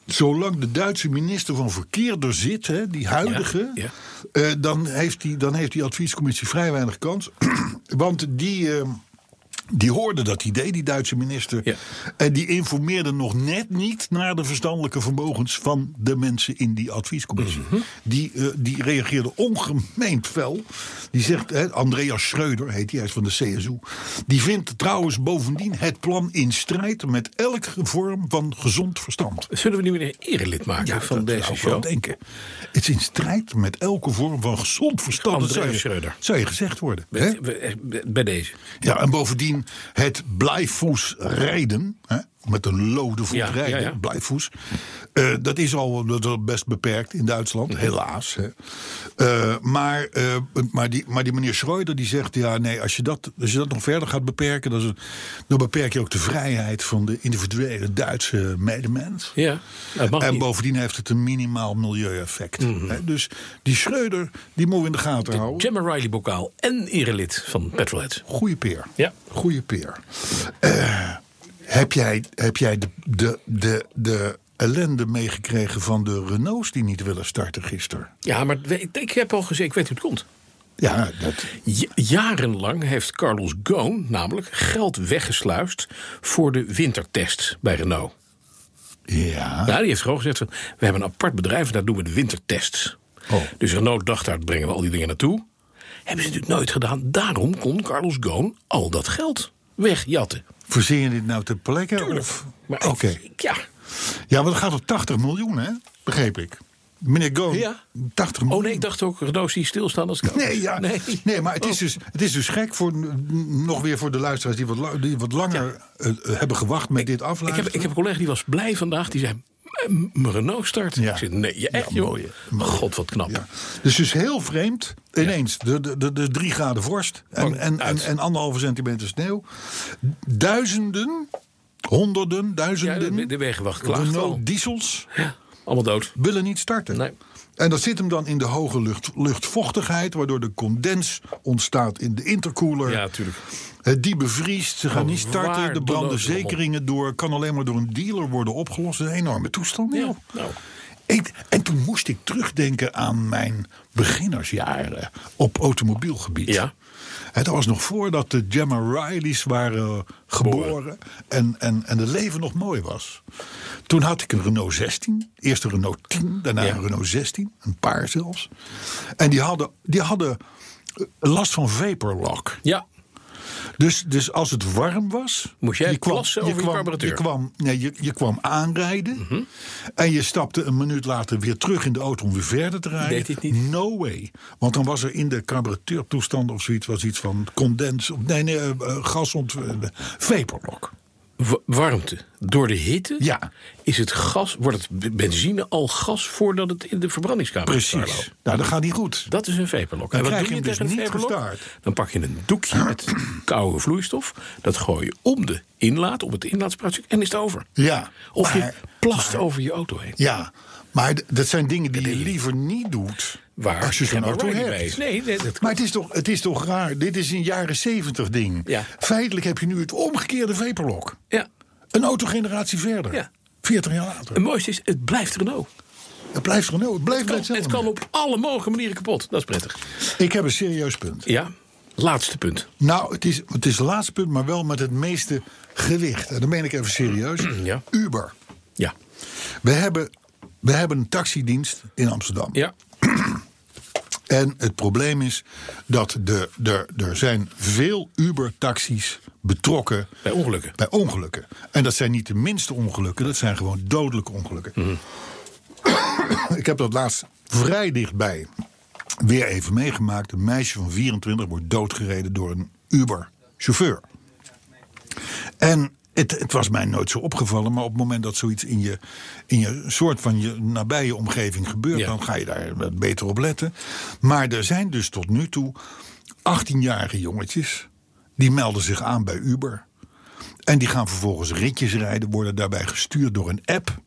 [SPEAKER 2] Zolang de Duitse minister van Verkeer er zit, hè, die huidige,
[SPEAKER 3] Ja,
[SPEAKER 2] eh, dan, heeft die, dan heeft die adviescommissie vrij weinig kans. Want die, eh, die hoorde dat idee, die Duitse minister.
[SPEAKER 3] Ja.
[SPEAKER 2] En die informeerde nog net niet naar de verstandelijke vermogens van de mensen in die adviescommissie.
[SPEAKER 3] Mhm.
[SPEAKER 2] Die, eh, die reageerde ongemeen fel. Die zegt, hè, Andreas Schreuder heet hij, hij is van de CSU. Die vindt trouwens bovendien het plan in strijd met elke vorm van gezond verstand.
[SPEAKER 3] Zullen we nu weer een erelid maken van
[SPEAKER 2] dat zou
[SPEAKER 3] deze
[SPEAKER 2] ik wel
[SPEAKER 3] show?
[SPEAKER 2] denken. Het is in strijd met elke vorm van gezond verstand. Dat
[SPEAKER 3] Andreas
[SPEAKER 2] zou je-
[SPEAKER 3] Schreuder.
[SPEAKER 2] Zou je gezegd worden. hè?
[SPEAKER 3] Bij- bij- eh, Bij deze.
[SPEAKER 2] Ja, en bovendien het blijvoets rijden. Hè, met een lode voet
[SPEAKER 3] Ja,
[SPEAKER 2] rijden,
[SPEAKER 3] ja, ja.
[SPEAKER 2] blijvoets. eh, dat is al dat is al best beperkt in Duitsland,
[SPEAKER 3] Mhm.
[SPEAKER 2] helaas. Hè. Eh, maar, eh, maar, die, maar die meneer Schreuder die zegt... ja, nee, als je dat, als je dat nog verder gaat beperken... Dan, is het- dan beperk je ook de vrijheid van de individuele Duitse medemens.
[SPEAKER 3] Ja, dat mag
[SPEAKER 2] en
[SPEAKER 3] niet. Mhm.
[SPEAKER 2] bovendien heeft het een minimaal milieueffect. hè. Dus die Schreuder, die moet in de gaten houden.
[SPEAKER 3] Gemma Riley bokaal en erelid van Petrolheads.
[SPEAKER 2] Goeie peer.
[SPEAKER 3] Ja.
[SPEAKER 2] Goeie peer. Eh, heb jij, heb jij de, de, de, de ellende meegekregen van de Renaults die niet willen starten gisteren?
[SPEAKER 3] Ja, maar we- ik heb al gezegd, ik weet hoe het komt.
[SPEAKER 2] Ja, dat,
[SPEAKER 3] J- jarenlang heeft Carlos Ghosn namelijk geld weggesluist voor de wintertest bij Renault.
[SPEAKER 2] ja.
[SPEAKER 3] Nou, die heeft gewoon gezegd, we hebben een apart bedrijf en daar doen we de wintertests.
[SPEAKER 2] Oh.
[SPEAKER 3] Dus Renault dacht, daar brengen we al die dingen naartoe. Hebben ze natuurlijk nooit gedaan. Daarom kon Carlos Ghosn al dat geld wegjatten.
[SPEAKER 2] Verzin je dit nou ter plekke? Of?
[SPEAKER 3] Maar
[SPEAKER 2] Oké.
[SPEAKER 3] ik- ja,
[SPEAKER 2] Ja, want het gaat om 80 miljoen, hè? Begreep ik. Meneer Goon,
[SPEAKER 3] Ja.
[SPEAKER 2] 80 miljoen.
[SPEAKER 3] Oh nee, ik dacht ook, Renault zie je stilstaan als het koud
[SPEAKER 2] Nee,
[SPEAKER 3] is.
[SPEAKER 2] ja. nee. maar het is, dus, het is dus gek voor, nog weer voor de luisteraars die wat, la- die wat langer eh, eh, hebben gewacht met dit
[SPEAKER 3] Ik
[SPEAKER 2] afluisteren.
[SPEAKER 3] heb, ik heb een collega die was blij vandaag. Die zei, "M- mijn Renault start.
[SPEAKER 2] Ja.
[SPEAKER 3] Ik zei, nee, je echt
[SPEAKER 2] Ja,
[SPEAKER 3] joh.
[SPEAKER 2] mooi, hè. Mooi.
[SPEAKER 3] God, wat knap.
[SPEAKER 2] Ja. Dus dus heel vreemd. Ineens de, de, de, de drie graden vorst en,
[SPEAKER 3] Bang,
[SPEAKER 2] en, en,
[SPEAKER 3] Oh, uit.
[SPEAKER 2] en anderhalve centimeter sneeuw. Duizenden, honderden,
[SPEAKER 3] Ja,
[SPEAKER 2] duizenden
[SPEAKER 3] de, de wegenwacht klaagt al.
[SPEAKER 2] Renault diesels
[SPEAKER 3] Ja, allemaal dood.
[SPEAKER 2] willen niet starten.
[SPEAKER 3] Nee.
[SPEAKER 2] En dat zit hem dan in de hoge lucht, luchtvochtigheid, waardoor de condens ontstaat in de intercooler.
[SPEAKER 3] Ja, Oh, natuurlijk.
[SPEAKER 2] Het die bevriest, ze gaan
[SPEAKER 3] Een
[SPEAKER 2] niet starten, de
[SPEAKER 3] waardeloze
[SPEAKER 2] branden
[SPEAKER 3] rommel.
[SPEAKER 2] zekeringen door, kan alleen maar door een dealer worden opgelost. Een enorme toestand.
[SPEAKER 3] Ja,
[SPEAKER 2] joh.
[SPEAKER 3] nou.
[SPEAKER 2] Ik- en toen moest ik terugdenken aan mijn beginnersjaren op automobielgebied.
[SPEAKER 3] Ja.
[SPEAKER 2] Het was nog voordat de Gemma Rileys waren geboren en, en, en het leven nog mooi was. Toen had ik een Renault 16, eerst een Renault 10, daarna
[SPEAKER 3] Ja.
[SPEAKER 2] een Renault 16, een paar zelfs. En die hadden, die hadden eh, last van vaporlock.
[SPEAKER 3] Ja,
[SPEAKER 2] Dus, dus als het warm was.
[SPEAKER 3] Moest jij
[SPEAKER 2] je kwam,
[SPEAKER 3] plassen over je Mhm.
[SPEAKER 2] kwam,
[SPEAKER 3] carburateur?
[SPEAKER 2] Je kwam, nee, je, je kwam aanrijden. En je stapte een minuut later weer terug in de auto om weer verder te rijden.
[SPEAKER 3] Deed dit niet?
[SPEAKER 2] No way. Want dan was er in de carburateurtoestand of zoiets was iets van condens. of- Nee, nee, eh, eh, gasont. eh, vaporlock.
[SPEAKER 3] Wa- warmte. Door de hitte
[SPEAKER 2] Ja.
[SPEAKER 3] is het gas, wordt het b- benzine al gas voordat het in de verbrandingskamer is.
[SPEAKER 2] Precies.
[SPEAKER 3] Carlo.
[SPEAKER 2] Nou, dat gaat niet goed.
[SPEAKER 3] Dat is een vaporlok.
[SPEAKER 2] Dan
[SPEAKER 3] en wat
[SPEAKER 2] krijg
[SPEAKER 3] doe je
[SPEAKER 2] je hem dus
[SPEAKER 3] tegen een
[SPEAKER 2] niet
[SPEAKER 3] vaporlok?
[SPEAKER 2] gestart.
[SPEAKER 3] Dan pak je een doekje met koude vloeistof. Dat gooi je om de inlaat, op het inlaatspraatje en is het over.
[SPEAKER 2] Ja.
[SPEAKER 3] Of je
[SPEAKER 2] maar-
[SPEAKER 3] plast over je auto heen.
[SPEAKER 2] Ja. Maar d- dat zijn dingen die je liever niet doet.
[SPEAKER 3] Waar
[SPEAKER 2] als je zo'n
[SPEAKER 3] Gemma
[SPEAKER 2] auto
[SPEAKER 3] Riley
[SPEAKER 2] hebt.
[SPEAKER 3] bij is. Nee, nee, dat
[SPEAKER 2] Maar het is, toch, het is toch raar? Dit is een jaren zeventig ding.
[SPEAKER 3] Ja.
[SPEAKER 2] Feitelijk heb je nu het omgekeerde vaporlok.
[SPEAKER 3] Ja,
[SPEAKER 2] Een autogeneratie verder.
[SPEAKER 3] Ja.
[SPEAKER 2] 40 jaar later.
[SPEAKER 3] Het mooiste is, het blijft Renault.
[SPEAKER 2] Het blijft Renault. Het blijft bij
[SPEAKER 3] Het kan, het
[SPEAKER 2] hetzelfde.
[SPEAKER 3] kan op alle mogelijke manieren kapot. Dat is prettig.
[SPEAKER 2] Ik heb een serieus punt.
[SPEAKER 3] Ja, laatste punt.
[SPEAKER 2] Nou, het is, het is het laatste punt, maar wel met het meeste gewicht. En dan meen ik even serieus.
[SPEAKER 3] Ja.
[SPEAKER 2] Uber.
[SPEAKER 3] Ja.
[SPEAKER 2] We hebben, we hebben een taxidienst in Amsterdam.
[SPEAKER 3] Ja.
[SPEAKER 2] En het probleem is dat de, de, er zijn veel Uber-taxis betrokken
[SPEAKER 3] Bij ongelukken.
[SPEAKER 2] bij ongelukken. En dat zijn niet de minste ongelukken, dat zijn gewoon dodelijke ongelukken.
[SPEAKER 3] Mhm.
[SPEAKER 2] Ik heb dat laatst vrij dichtbij weer even meegemaakt. Een meisje van 24 wordt doodgereden door een Uber-chauffeur. En het, het was mij nooit zo opgevallen, maar op het moment dat zoiets in je, in je soort van je nabije omgeving gebeurt,
[SPEAKER 3] Ja.
[SPEAKER 2] dan ga je daar wat beter op letten. Maar er zijn dus tot nu toe 18-jarige jongetjes die melden zich aan bij Uber. En die gaan vervolgens ritjes rijden, worden daarbij gestuurd door een app.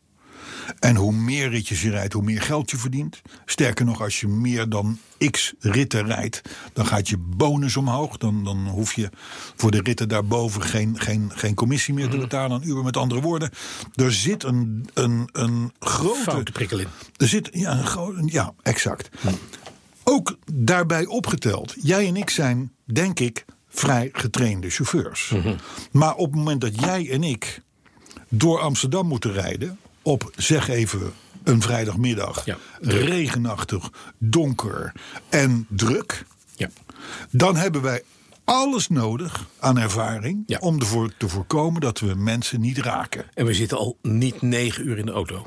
[SPEAKER 2] En hoe meer ritjes je rijdt, hoe meer geld je verdient. Sterker nog, als je meer dan x ritten rijdt, dan gaat je bonus omhoog. Dan, dan hoef je voor de ritten daarboven geen, geen, geen commissie meer te betalen aan Uber. Met andere woorden, er zit een, een, een
[SPEAKER 3] Foute
[SPEAKER 2] grote
[SPEAKER 3] prikkel in.
[SPEAKER 2] er zit, ja, een gro- ja exact. Ook daarbij opgeteld. Jij en ik zijn, denk ik, vrij getrainde chauffeurs. Maar op het moment dat jij en ik door Amsterdam moeten rijden... op, zeg even, een vrijdagmiddag...
[SPEAKER 3] Ja.
[SPEAKER 2] regenachtig, donker en druk...
[SPEAKER 3] Ja.
[SPEAKER 2] dan hebben wij alles nodig aan ervaring...
[SPEAKER 3] Ja.
[SPEAKER 2] om ervoor te voorkomen dat we mensen niet raken.
[SPEAKER 3] En we zitten al niet negen uur in de auto.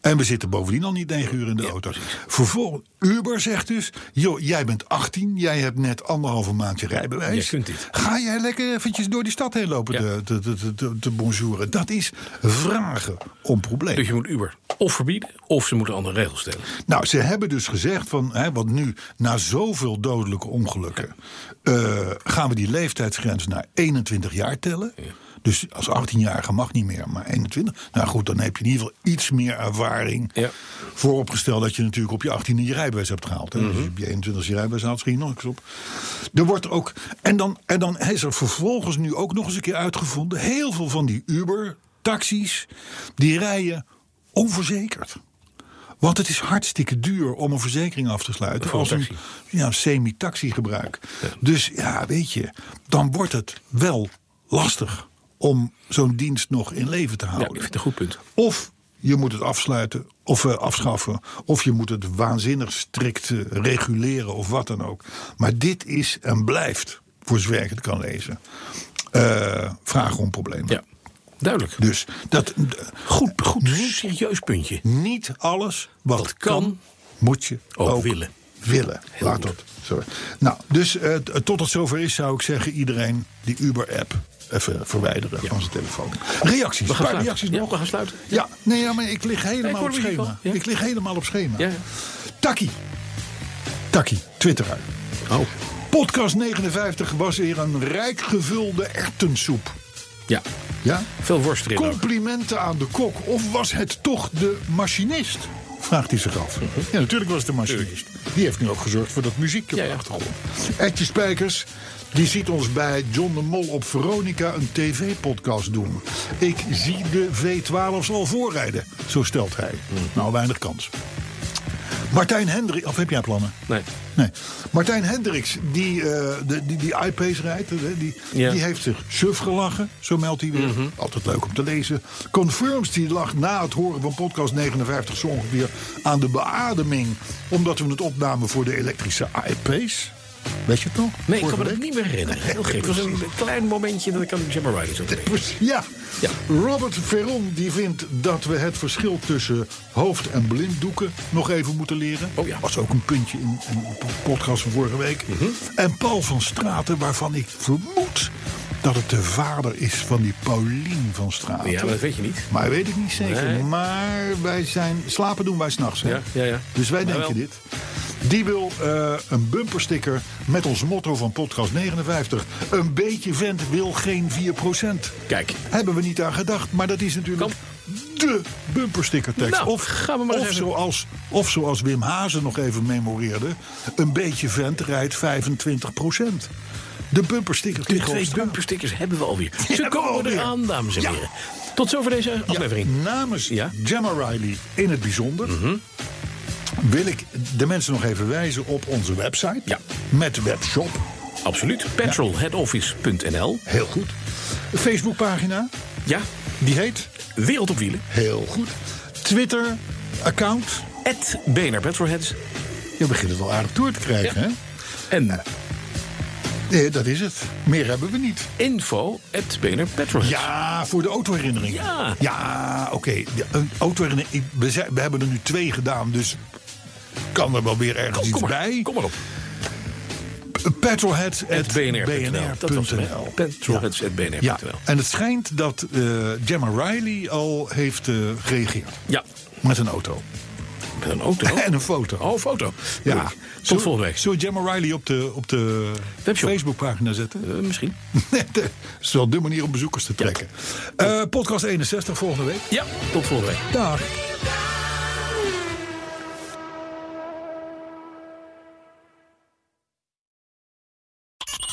[SPEAKER 2] En we zitten bovendien al niet 9 uur in de auto. Vervolgens, Uber zegt dus: joh, jij bent 18, jij hebt net anderhalve maand je rijbewijs.
[SPEAKER 3] Jij kunt dit.
[SPEAKER 2] Ga jij lekker eventjes door die stad heen lopen
[SPEAKER 3] Ja.
[SPEAKER 2] te, te, te, te- te, te bonjouren. Dat is vragen om problemen.
[SPEAKER 3] Dus je moet Uber of verbieden, of ze moeten andere regels stellen.
[SPEAKER 2] Nou, ze hebben dus gezegd van, hè, want nu na zoveel dodelijke ongelukken eh, gaan we die leeftijdsgrens naar 21 jaar tellen. Dus als 18-jarige mag niet meer, maar 21. Nou goed, dan heb je in ieder geval iets meer ervaring.
[SPEAKER 3] Ja.
[SPEAKER 2] Vooropgesteld dat je natuurlijk op je 18e je rijbewijs hebt gehaald. Hè? Dus op je 21 e je rijbewijs haalt, schiet je nog eens op. Er wordt ook, en, dan, en dan is er vervolgens nu ook nog eens een keer uitgevonden... heel veel van die Uber-taxis, die rijden onverzekerd. Want het is hartstikke duur om een verzekering af te sluiten.
[SPEAKER 3] Voor een
[SPEAKER 2] als een
[SPEAKER 3] taxi.
[SPEAKER 2] ja, semi-taxigebruik. Dus ja, weet je, dan wordt het wel lastig om zo'n dienst nog in leven te
[SPEAKER 3] Ja, ik
[SPEAKER 2] houden.
[SPEAKER 3] vind het een goed punt.
[SPEAKER 2] Of je moet het afsluiten of eh, afschaffen. Of je moet het waanzinnig strikt eh, reguleren of wat dan ook. Maar dit is en blijft, voor zover ik het kan lezen, eh vragen om problemen.
[SPEAKER 3] Ja, duidelijk.
[SPEAKER 2] Dus dat,
[SPEAKER 3] Goed, goed. Serieus puntje.
[SPEAKER 2] niet alles wat,
[SPEAKER 3] Wat kan,
[SPEAKER 2] kan, moet je
[SPEAKER 3] ook
[SPEAKER 2] ook,
[SPEAKER 3] willen.
[SPEAKER 2] willen. Laat
[SPEAKER 3] goed.
[SPEAKER 2] dat. Sorry. Nou, dus eh, t- tot het zover is, zou ik zeggen: iedereen die Uber-app even verwijderen van zijn telefoon. Reacties.
[SPEAKER 3] We gaan
[SPEAKER 2] Een paar
[SPEAKER 3] sluiten.
[SPEAKER 2] reacties
[SPEAKER 3] Ja,
[SPEAKER 2] nog.
[SPEAKER 3] we gaan sluiten.
[SPEAKER 2] Ja, nee, ja, maar ik lig
[SPEAKER 3] Nee, ik
[SPEAKER 2] helemaal
[SPEAKER 3] hoor
[SPEAKER 2] op
[SPEAKER 3] muziek
[SPEAKER 2] schema.
[SPEAKER 3] al, ja.
[SPEAKER 2] Ik lig helemaal op schema.
[SPEAKER 3] Ja, ja.
[SPEAKER 2] Taki. Taki, Twitteraar.
[SPEAKER 3] Oh.
[SPEAKER 2] Podcast 59 was weer een rijk gevulde ertensoep.
[SPEAKER 3] Ja,
[SPEAKER 2] Ja?
[SPEAKER 3] veel worst erin ook.
[SPEAKER 2] Complimenten aan de kok. Of was het toch de machinist? Vraagt hij zich
[SPEAKER 3] Mhm.
[SPEAKER 2] af. Ja, natuurlijk was het de machinist. Die heeft nu ook gezorgd voor dat muziekje
[SPEAKER 3] Ja,
[SPEAKER 2] op
[SPEAKER 3] ja.
[SPEAKER 2] de achtergrond. Edje Spijkers, die ziet ons bij John de Mol op Veronica een tv-podcast doen. Ik zie de V12's al voorrijden, zo stelt hij.
[SPEAKER 3] Mhm.
[SPEAKER 2] Nou, weinig kans. Martijn Hendrik, of heb jij plannen?
[SPEAKER 3] Nee.
[SPEAKER 2] Nee. Martijn Hendricks, die, eh, de, die, die iPace rijdt, hè, die,
[SPEAKER 3] Ja. Mhm.
[SPEAKER 2] die heeft zich suf gelachen, zo meldt hij weer. Altijd leuk om te lezen. Confirms, die lag na het horen van podcast 59 zo ongeveer aan de beademing. Omdat we het opnamen voor de elektrische iPace. Weet je het nog?
[SPEAKER 3] Nee, ik
[SPEAKER 2] Vorige
[SPEAKER 3] kan me dat
[SPEAKER 2] week.
[SPEAKER 3] niet meer herinneren. Heel gek. Het was een klein momentje dat ik aan Jim Riders op denken.
[SPEAKER 2] Ja.
[SPEAKER 3] Ja.
[SPEAKER 2] Robert Veron die vindt dat we het verschil tussen hoofd- en blinddoeken nog even moeten leren.
[SPEAKER 3] Oh ja. Mhm.
[SPEAKER 2] Was ook een puntje in een podcast van vorige week. En Paul van Straten, waarvan ik vermoed dat het de vader is van die Paulien van Straten.
[SPEAKER 3] Ja, maar dat weet je niet.
[SPEAKER 2] Maar weet ik niet zeker.
[SPEAKER 3] Nee.
[SPEAKER 2] Maar wij zijn. Slapen doen wij s'nachts.
[SPEAKER 3] Ja, ja, ja.
[SPEAKER 2] Dus wij
[SPEAKER 3] Maar
[SPEAKER 2] denken
[SPEAKER 3] wel.
[SPEAKER 2] dit. Die wil eh, een bumpersticker met ons motto van podcast 59. Een beetje vent wil geen 4%.
[SPEAKER 3] Kijk.
[SPEAKER 2] Hebben we niet aan gedacht, maar dat is natuurlijk de bumperstickertekst.
[SPEAKER 3] Nou,
[SPEAKER 2] of,
[SPEAKER 3] gaan we maar eens
[SPEAKER 2] of,
[SPEAKER 3] even-
[SPEAKER 2] zoals, of zoals Wim Hazen nog even memoreerde... een beetje vent rijdt 25%. De bumperstickers.
[SPEAKER 3] De
[SPEAKER 2] liggen
[SPEAKER 3] twee
[SPEAKER 2] op straat.
[SPEAKER 3] bumperstickers hebben we alweer. Ze
[SPEAKER 2] hebben we
[SPEAKER 3] komen
[SPEAKER 2] alweer.
[SPEAKER 3] eraan, dames en
[SPEAKER 2] Ja.
[SPEAKER 3] heren. Tot zover deze aflevering.
[SPEAKER 2] Namens
[SPEAKER 3] Ja. Mhm.
[SPEAKER 2] Gemma Riley in het bijzonder. Wil ik de mensen nog even wijzen op onze website.
[SPEAKER 3] Ja.
[SPEAKER 2] Met webshop.
[SPEAKER 3] Absoluut. Petrolheadoffice.nl.
[SPEAKER 2] Heel goed. Facebookpagina.
[SPEAKER 3] Ja,
[SPEAKER 2] Die heet.
[SPEAKER 3] wereld op wielen.
[SPEAKER 2] Heel goed. Twitter. Account.
[SPEAKER 3] At BNR Petrolheads.
[SPEAKER 2] Je begint het al aardig door te krijgen, hè?
[SPEAKER 3] En
[SPEAKER 2] Nee, dat is het. Meer hebben we niet.
[SPEAKER 3] info at BNR Petrolheads.
[SPEAKER 2] Ja, voor de autoherinnering.
[SPEAKER 3] Ja.
[SPEAKER 2] Ja, oké. De- Een autoherinnering. ik- We, zijn- we hebben er nu twee gedaan, dus kan er wel weer ergens
[SPEAKER 3] Oh,
[SPEAKER 2] iets
[SPEAKER 3] kom, maar,
[SPEAKER 2] bij.
[SPEAKER 3] kom maar op. At BNR.nl. Dat was
[SPEAKER 2] Petrolhead.bnr.nl.
[SPEAKER 3] het. Petrolheads.bnr.nl.
[SPEAKER 2] Ja, en het schijnt dat eh Gemma Riley al heeft eh, gereageerd
[SPEAKER 3] Ja,
[SPEAKER 2] met een auto.
[SPEAKER 3] met een auto.
[SPEAKER 2] En een foto.
[SPEAKER 3] Oh, foto.
[SPEAKER 2] Ja.
[SPEAKER 3] Leuk. Tot
[SPEAKER 2] Zullen-
[SPEAKER 3] volgende week.
[SPEAKER 2] Zullen we Gemma Riley op de, op de
[SPEAKER 3] Webshop.
[SPEAKER 2] Facebookpagina zetten?
[SPEAKER 3] Eh, misschien.
[SPEAKER 2] dat is wel de manier om bezoekers te trekken. Eh, podcast 61 volgende week.
[SPEAKER 3] Ja, tot volgende week.
[SPEAKER 2] Dag.